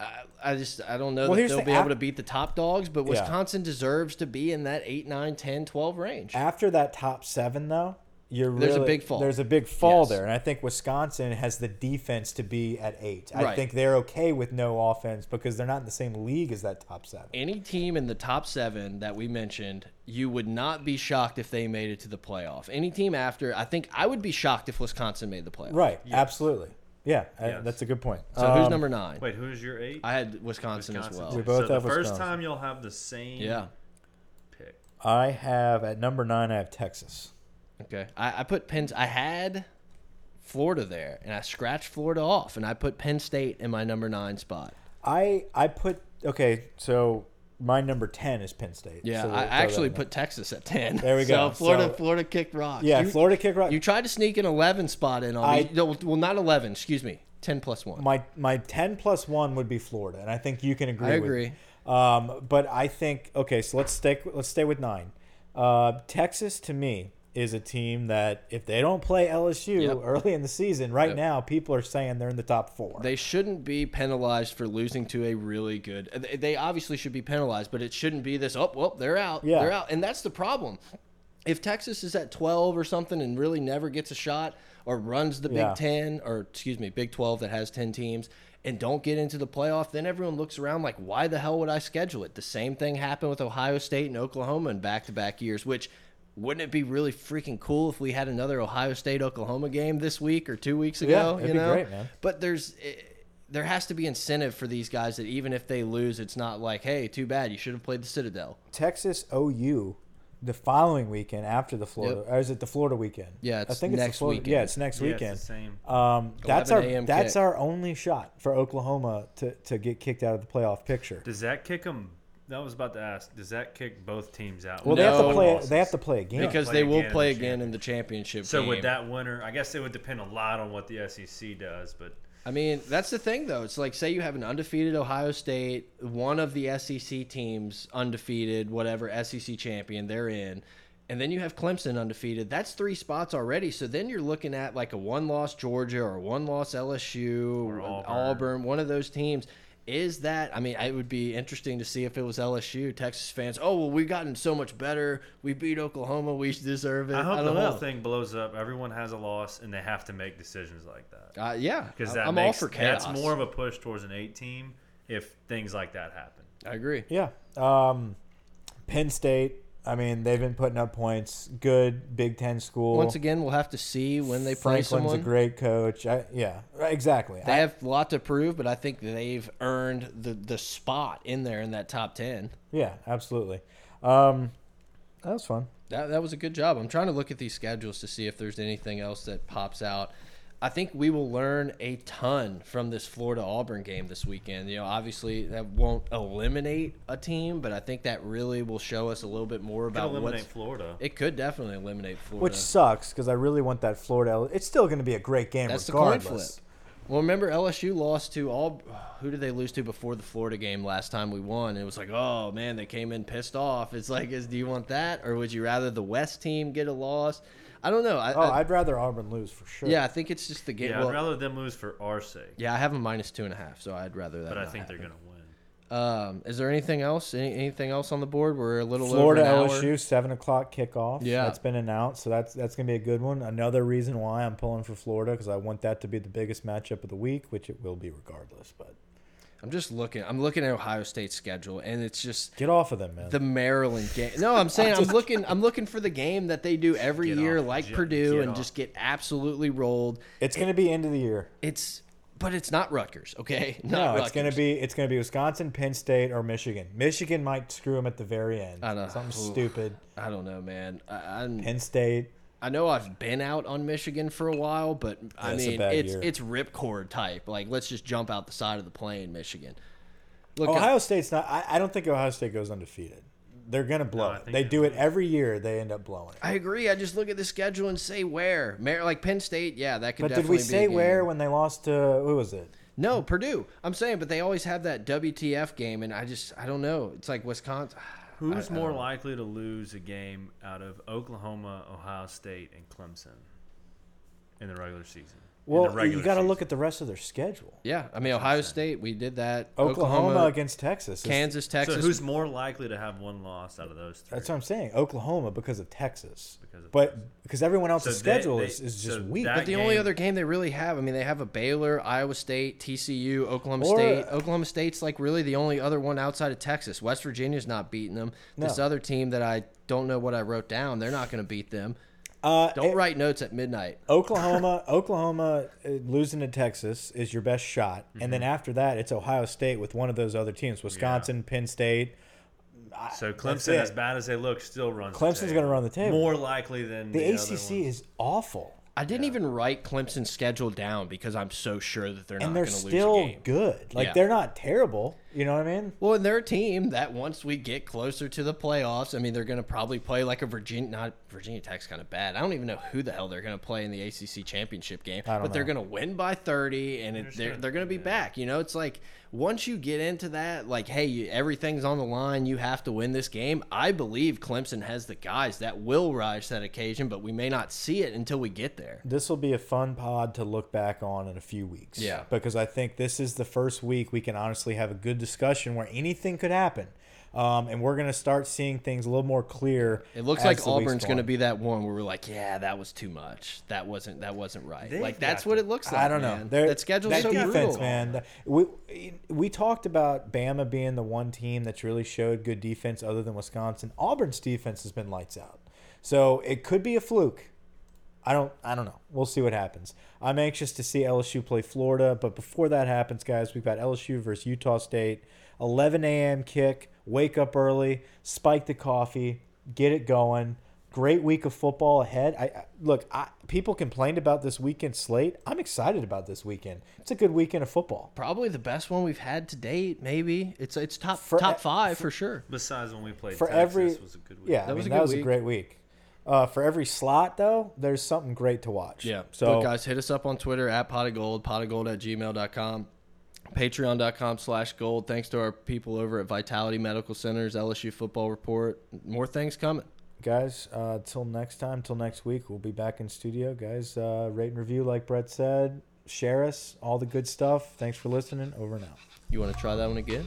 [SPEAKER 2] I, I just I don't know
[SPEAKER 1] Well,
[SPEAKER 2] that
[SPEAKER 1] here's
[SPEAKER 2] they'll
[SPEAKER 1] the
[SPEAKER 2] be
[SPEAKER 1] app-
[SPEAKER 2] able to beat the top dogs, but
[SPEAKER 1] Yeah.
[SPEAKER 2] Wisconsin deserves to be in that 8, 9, 10, 12 range.
[SPEAKER 1] After that top seven, though, you're
[SPEAKER 2] There's a
[SPEAKER 1] really-
[SPEAKER 2] big fall.
[SPEAKER 1] There's a big fall
[SPEAKER 2] Yes.
[SPEAKER 1] there, and I think Wisconsin has the defense to be at eight. I
[SPEAKER 2] Right.
[SPEAKER 1] think they're okay with no offense because they're not in the same league as that top seven.
[SPEAKER 2] Any team in the top seven that we mentioned, you would not be shocked if they made it to the playoff. Any team after, I think I would be shocked if Wisconsin made the playoff.
[SPEAKER 1] Right. Absolutely. Yeah, I-
[SPEAKER 3] Yes.
[SPEAKER 1] that's a good point.
[SPEAKER 2] So who's
[SPEAKER 1] Um,
[SPEAKER 2] number nine?
[SPEAKER 3] Wait, who's your eight?
[SPEAKER 2] I had Wisconsin, as well.
[SPEAKER 1] We both
[SPEAKER 3] so
[SPEAKER 1] have
[SPEAKER 3] the first
[SPEAKER 1] Wisconsin.
[SPEAKER 3] time you'll have the same
[SPEAKER 2] Yeah.
[SPEAKER 3] pick.
[SPEAKER 1] I have at number nine. I have Texas.
[SPEAKER 2] Okay. I, I put Penn. I had Florida there, and I scratched Florida off, and I put Penn State in my number nine spot.
[SPEAKER 1] I I put okay. So my number ten is Penn State.
[SPEAKER 2] Yeah,
[SPEAKER 1] so we'll
[SPEAKER 2] I
[SPEAKER 1] throw that
[SPEAKER 2] actually
[SPEAKER 1] in there.
[SPEAKER 2] put Texas at ten.
[SPEAKER 1] There we go.
[SPEAKER 2] [laughs] So Florida,
[SPEAKER 1] So-
[SPEAKER 2] Florida kicked rock.
[SPEAKER 1] Yeah,
[SPEAKER 2] you,
[SPEAKER 1] Florida kick rock.
[SPEAKER 2] You tried to sneak an eleven spot in on
[SPEAKER 1] I-
[SPEAKER 2] me. No, well, not eleven. Excuse me, ten plus one.
[SPEAKER 1] my my ten plus one would be Florida, and I think you can agree.
[SPEAKER 2] I
[SPEAKER 1] with
[SPEAKER 2] agree.
[SPEAKER 1] me. Um, but I think okay. So let's stick. Let's stay with nine. Uh, Texas to me is a team that if they don't play LSU
[SPEAKER 2] Yep.
[SPEAKER 1] early in the season, right
[SPEAKER 2] Yep.
[SPEAKER 1] now people are saying they're in the top four.
[SPEAKER 2] They shouldn't be penalized for losing to a really good. they- They obviously should be penalized, but it shouldn't be this. Oh, well, they're out.
[SPEAKER 1] Yeah.
[SPEAKER 2] They're out, and that's the problem. If Texas is at twelve or something and really never gets a shot, or runs the Big
[SPEAKER 1] Yeah.
[SPEAKER 2] Ten, or excuse me, Big Twelve that has ten teams, and don't get into the playoff, then everyone looks around like, why the hell would I schedule it? The same thing happened with Ohio State and Oklahoma in back-to-back years, which. Wouldn't it be really freaking cool if we had another Ohio State Oklahoma game this week or two weeks ago?
[SPEAKER 1] Yeah,
[SPEAKER 2] you
[SPEAKER 1] it'd be
[SPEAKER 2] know?
[SPEAKER 1] great, man.
[SPEAKER 2] But there's eh, there has to be incentive for these guys that even if they lose, it's not like, hey, too bad, you should have played the Citadel.
[SPEAKER 1] Texas OU the following weekend after the Florida, or is it the Florida weekend?
[SPEAKER 2] Yeah, it's next
[SPEAKER 1] the Florida,
[SPEAKER 2] weekend.
[SPEAKER 1] Yeah, it's next
[SPEAKER 3] Yeah, it's the
[SPEAKER 1] weekend.
[SPEAKER 3] same.
[SPEAKER 1] Um, that's our
[SPEAKER 2] 11 a.m.
[SPEAKER 1] that's
[SPEAKER 2] kick.
[SPEAKER 1] our only shot for Oklahoma to, to get kicked out of the playoff picture.
[SPEAKER 3] Does that kick them? That was about to ask. Does that kick both teams out?
[SPEAKER 1] Well, they have to
[SPEAKER 2] No.
[SPEAKER 1] play. They have to play a game.
[SPEAKER 2] Because
[SPEAKER 3] play
[SPEAKER 2] they will
[SPEAKER 3] again in
[SPEAKER 2] play
[SPEAKER 3] the
[SPEAKER 2] again in the championship.
[SPEAKER 3] So
[SPEAKER 2] game.
[SPEAKER 3] with that winner, I guess it would depend a lot on what the SEC does, but
[SPEAKER 2] I mean, that's the thing though. It's like say you have an undefeated Ohio State, one of the SEC teams undefeated, whatever SEC champion they're in, and then you have Clemson undefeated. That's three spots already. So then you're looking at like a one-loss Georgia or a one-loss LSU or
[SPEAKER 3] Auburn.
[SPEAKER 2] Auburn. one of those teams. Is that? I mean, it would be interesting to see if it was LSU. Texas fans, oh well, we've gotten so much better. We beat Oklahoma. We deserve it.
[SPEAKER 3] I hope
[SPEAKER 2] don't
[SPEAKER 3] the whole
[SPEAKER 2] know.
[SPEAKER 3] thing blows up. Everyone has a loss, and they have to make decisions like that
[SPEAKER 2] Uh, yeah,
[SPEAKER 3] because
[SPEAKER 2] I-
[SPEAKER 3] that
[SPEAKER 2] I'm
[SPEAKER 3] makes
[SPEAKER 2] all for chaos.
[SPEAKER 3] that's more of a push towards an eight team if things like that happen.
[SPEAKER 2] I agree.
[SPEAKER 1] yeah. Um, Penn State. I mean, they've been putting up points. Good Big Ten school.
[SPEAKER 2] Once again, we'll have to see when they play
[SPEAKER 1] Franklin's
[SPEAKER 2] someone.
[SPEAKER 1] a great coach. I, yeah, right, exactly.
[SPEAKER 2] they
[SPEAKER 1] I-
[SPEAKER 2] have a lot to prove, but I think they've earned the the spot in there in that top ten.
[SPEAKER 1] yeah, absolutely. Um, that was fun.
[SPEAKER 2] That that was a good job. I'm trying to look at these schedules to see if there's anything else that pops out. I think we will learn a ton from this Florida Auburn game this weekend. You know, obviously that won't eliminate a team, but I think that really will show us a little bit more
[SPEAKER 3] Could
[SPEAKER 2] about
[SPEAKER 3] eliminate
[SPEAKER 2] Uh, what's.
[SPEAKER 3] Florida.
[SPEAKER 2] It could definitely eliminate Florida.
[SPEAKER 1] Which sucks because I really want that Florida. It's still going to be a great game
[SPEAKER 2] That's
[SPEAKER 1] regardless.
[SPEAKER 2] the coin flip. Well, remember LSU lost to all. Who did they lose to before the Florida game last time we won? It was like, oh man, they came in pissed off. It's like, is do you want that or would you rather the West team get a loss? I don't know. I,
[SPEAKER 1] Oh,
[SPEAKER 2] I-
[SPEAKER 1] I'd rather Auburn lose for sure.
[SPEAKER 2] yeah, I think it's just the game.
[SPEAKER 3] yeah,
[SPEAKER 2] well,
[SPEAKER 3] I'd rather them lose for our sake,
[SPEAKER 2] yeah, I have a minus two and a half, so I'd rather that.
[SPEAKER 3] but I
[SPEAKER 2] not
[SPEAKER 3] think they're
[SPEAKER 2] happen.
[SPEAKER 3] going to win.
[SPEAKER 2] Um, is there anything else? Any, anything else on the board? We're a little
[SPEAKER 1] Florida
[SPEAKER 2] over an hour.
[SPEAKER 1] LSU seven o'clock kickoff.
[SPEAKER 2] Yeah.
[SPEAKER 1] that's been announced, so that's that's gonna be a good one. Another reason why I'm pulling for Florida because I want that to be the biggest matchup of the week, which it will be regardless. But
[SPEAKER 2] I'm just looking. I'm looking at Ohio State's schedule, and it's just
[SPEAKER 1] get off of them, man.
[SPEAKER 2] the Maryland game. No, I'm saying I'm looking. I'm looking for the game that they do every
[SPEAKER 3] Get
[SPEAKER 2] year,
[SPEAKER 3] off.
[SPEAKER 2] like
[SPEAKER 3] Get-
[SPEAKER 2] Purdue,
[SPEAKER 3] get
[SPEAKER 2] and
[SPEAKER 3] off.
[SPEAKER 2] just get absolutely rolled.
[SPEAKER 1] it's gonna be end of the year.
[SPEAKER 2] It's but it's not Rutgers, okay? [laughs] Not
[SPEAKER 1] No,
[SPEAKER 2] Rutgers.
[SPEAKER 1] it's gonna be it's gonna be Wisconsin, Penn State, or Michigan. Michigan might screw them at the very end.
[SPEAKER 2] I know.
[SPEAKER 1] Something
[SPEAKER 2] Oof.
[SPEAKER 1] stupid.
[SPEAKER 2] I don't know, man. I, I'm,
[SPEAKER 1] Penn State.
[SPEAKER 2] I know I've been out on Michigan for a while, but I
[SPEAKER 1] Yeah, it's a
[SPEAKER 2] mean,
[SPEAKER 1] bad
[SPEAKER 2] it's
[SPEAKER 1] year.
[SPEAKER 2] it's ripcord type. Like, let's just jump out the side of the plane, Michigan. Look,
[SPEAKER 1] Ohio State's not. I, I don't think Ohio State goes undefeated. They're gonna blow it.
[SPEAKER 3] I think
[SPEAKER 1] They
[SPEAKER 3] they
[SPEAKER 1] do it every year. They end up blowing it.
[SPEAKER 2] I, I agree. I just look at the schedule and say where, Mar like Penn State. Yeah, that could.
[SPEAKER 1] But did
[SPEAKER 2] definitely
[SPEAKER 1] we say
[SPEAKER 2] be a game.
[SPEAKER 1] where when they lost to who was it?
[SPEAKER 2] No, Purdue. I'm saying, but they always have that WTF game, and I just I don't know. It's like Wisconsin. [sighs]
[SPEAKER 3] Who's
[SPEAKER 2] I- I
[SPEAKER 3] more
[SPEAKER 2] don't-
[SPEAKER 3] likely to lose a game out of Oklahoma, Ohio State, and Clemson? in the regular season. In the
[SPEAKER 1] Well, you
[SPEAKER 3] regular
[SPEAKER 1] got to
[SPEAKER 3] season.
[SPEAKER 1] look at the rest of their schedule.
[SPEAKER 2] Yeah, I mean Ohio State, we did that.
[SPEAKER 1] Oklahoma, against Texas. is-
[SPEAKER 2] Kansas,
[SPEAKER 3] So
[SPEAKER 2] Texas.
[SPEAKER 3] who's more likely to have one loss out of those three?
[SPEAKER 1] That's what I'm saying. Oklahoma because of Texas.
[SPEAKER 3] Because of
[SPEAKER 1] but because everyone else's
[SPEAKER 3] So they-
[SPEAKER 1] schedule
[SPEAKER 3] they-
[SPEAKER 1] is, is just
[SPEAKER 3] so
[SPEAKER 1] weak.
[SPEAKER 3] that-
[SPEAKER 2] but the only
[SPEAKER 3] game-
[SPEAKER 2] other game they really have, I mean, they have a Baylor, Iowa State, TCU, Oklahoma
[SPEAKER 1] Or-
[SPEAKER 2] State. Oklahoma State's like really the only other one outside of Texas. West Virginia's not beating them. This
[SPEAKER 1] No.
[SPEAKER 2] other team that I don't know what I wrote down, they're not going to beat them.
[SPEAKER 1] uh,
[SPEAKER 2] Don't
[SPEAKER 1] eh,
[SPEAKER 2] write notes at midnight.
[SPEAKER 1] Oklahoma,
[SPEAKER 3] [laughs]
[SPEAKER 1] Oklahoma uh, losing to Texas is your best shot, and
[SPEAKER 3] Mm-hmm.
[SPEAKER 1] then after that, it's Ohio State with one of those other teams: Wisconsin, Penn State.
[SPEAKER 3] So
[SPEAKER 1] That's
[SPEAKER 3] Clemson,
[SPEAKER 1] it.
[SPEAKER 3] as bad as they look, still runs. the
[SPEAKER 1] Clemson's
[SPEAKER 3] table.
[SPEAKER 1] gonna run the table.
[SPEAKER 3] More likely than
[SPEAKER 1] The,
[SPEAKER 3] the,
[SPEAKER 1] ACC is awful,
[SPEAKER 2] I didn't even write Clemson's schedule down because I'm so sure that they're
[SPEAKER 1] and
[SPEAKER 2] not
[SPEAKER 1] they're
[SPEAKER 2] going to lose a
[SPEAKER 1] still
[SPEAKER 2] game.
[SPEAKER 1] good. Like
[SPEAKER 2] Yeah.
[SPEAKER 1] they're not terrible. You know what I mean?
[SPEAKER 2] Well, and they're a team that once we get closer to the playoffs, I mean, they're going to probably play like a Virginia, not Virginia Tech's kind of bad. I don't even know who the hell they're going to play in the ACC championship game,
[SPEAKER 1] don't
[SPEAKER 2] but they're
[SPEAKER 1] know.
[SPEAKER 2] going to win by 30, and it, they're, they're going to be back. You know, it's like once you get into that, like, hey, you, everything's on the line. You have to win this game. I believe Clemson has the guys that will rise to that occasion, but we may not see it until we get there.
[SPEAKER 1] This will be a fun pod to look back on in a few weeks.
[SPEAKER 2] Yeah.
[SPEAKER 1] Because I think this is the first week we can honestly have a good discussion where anything could happen. Um, and we're going to start seeing things a little more clear.
[SPEAKER 2] It looks
[SPEAKER 1] as
[SPEAKER 2] like
[SPEAKER 1] the weeks
[SPEAKER 2] Auburn's
[SPEAKER 1] go
[SPEAKER 2] going to
[SPEAKER 1] on.
[SPEAKER 2] be that one where we're like, yeah, that was too much. That wasn't that wasn't right.
[SPEAKER 3] They've
[SPEAKER 2] like that's
[SPEAKER 3] got
[SPEAKER 2] what
[SPEAKER 3] to-
[SPEAKER 2] it looks like.
[SPEAKER 1] I don't know.
[SPEAKER 2] man.
[SPEAKER 1] They're-
[SPEAKER 2] That schedule's
[SPEAKER 1] that
[SPEAKER 2] so
[SPEAKER 1] defense,
[SPEAKER 2] brutal.
[SPEAKER 1] man. that- We we talked about Bama being the one team that's really showed good defense, other than Wisconsin. Auburn's defense has been lights out, so it could be a fluke. I don't I don't know. We'll see what happens. I'm anxious to see LSU play Florida, but before that happens, guys, we've got LSU versus Utah State. 11 a.m. kick. Wake up early. Spike the coffee. Get it going. Great week of football ahead. I, I look. I, people complained about this weekend slate. I'm excited about this weekend. It's a good weekend of football.
[SPEAKER 2] Probably the best one we've had to date. Maybe it's it's top
[SPEAKER 1] For-
[SPEAKER 2] top five for sure.
[SPEAKER 3] Besides when we played
[SPEAKER 1] For
[SPEAKER 3] Texas,
[SPEAKER 1] every-
[SPEAKER 3] was a good week.
[SPEAKER 1] Yeah, I
[SPEAKER 2] That was
[SPEAKER 1] mean, that
[SPEAKER 2] a good
[SPEAKER 1] was a
[SPEAKER 2] week.
[SPEAKER 1] great week. Uh, for every slot though, there's something great to watch. So
[SPEAKER 2] Look, guys, hit us up on Twitter at pot of gold, pot of gold at gmail.com, patreon.com slash gold. Thanks to our people over at Vitality Medical Centers, LSU Football Report. More things coming.
[SPEAKER 1] guys uh till next time till next week we'll be back in studio guys uh rate and review like brett said share us all the good stuff thanks for listening over and out
[SPEAKER 2] You want to try that one again?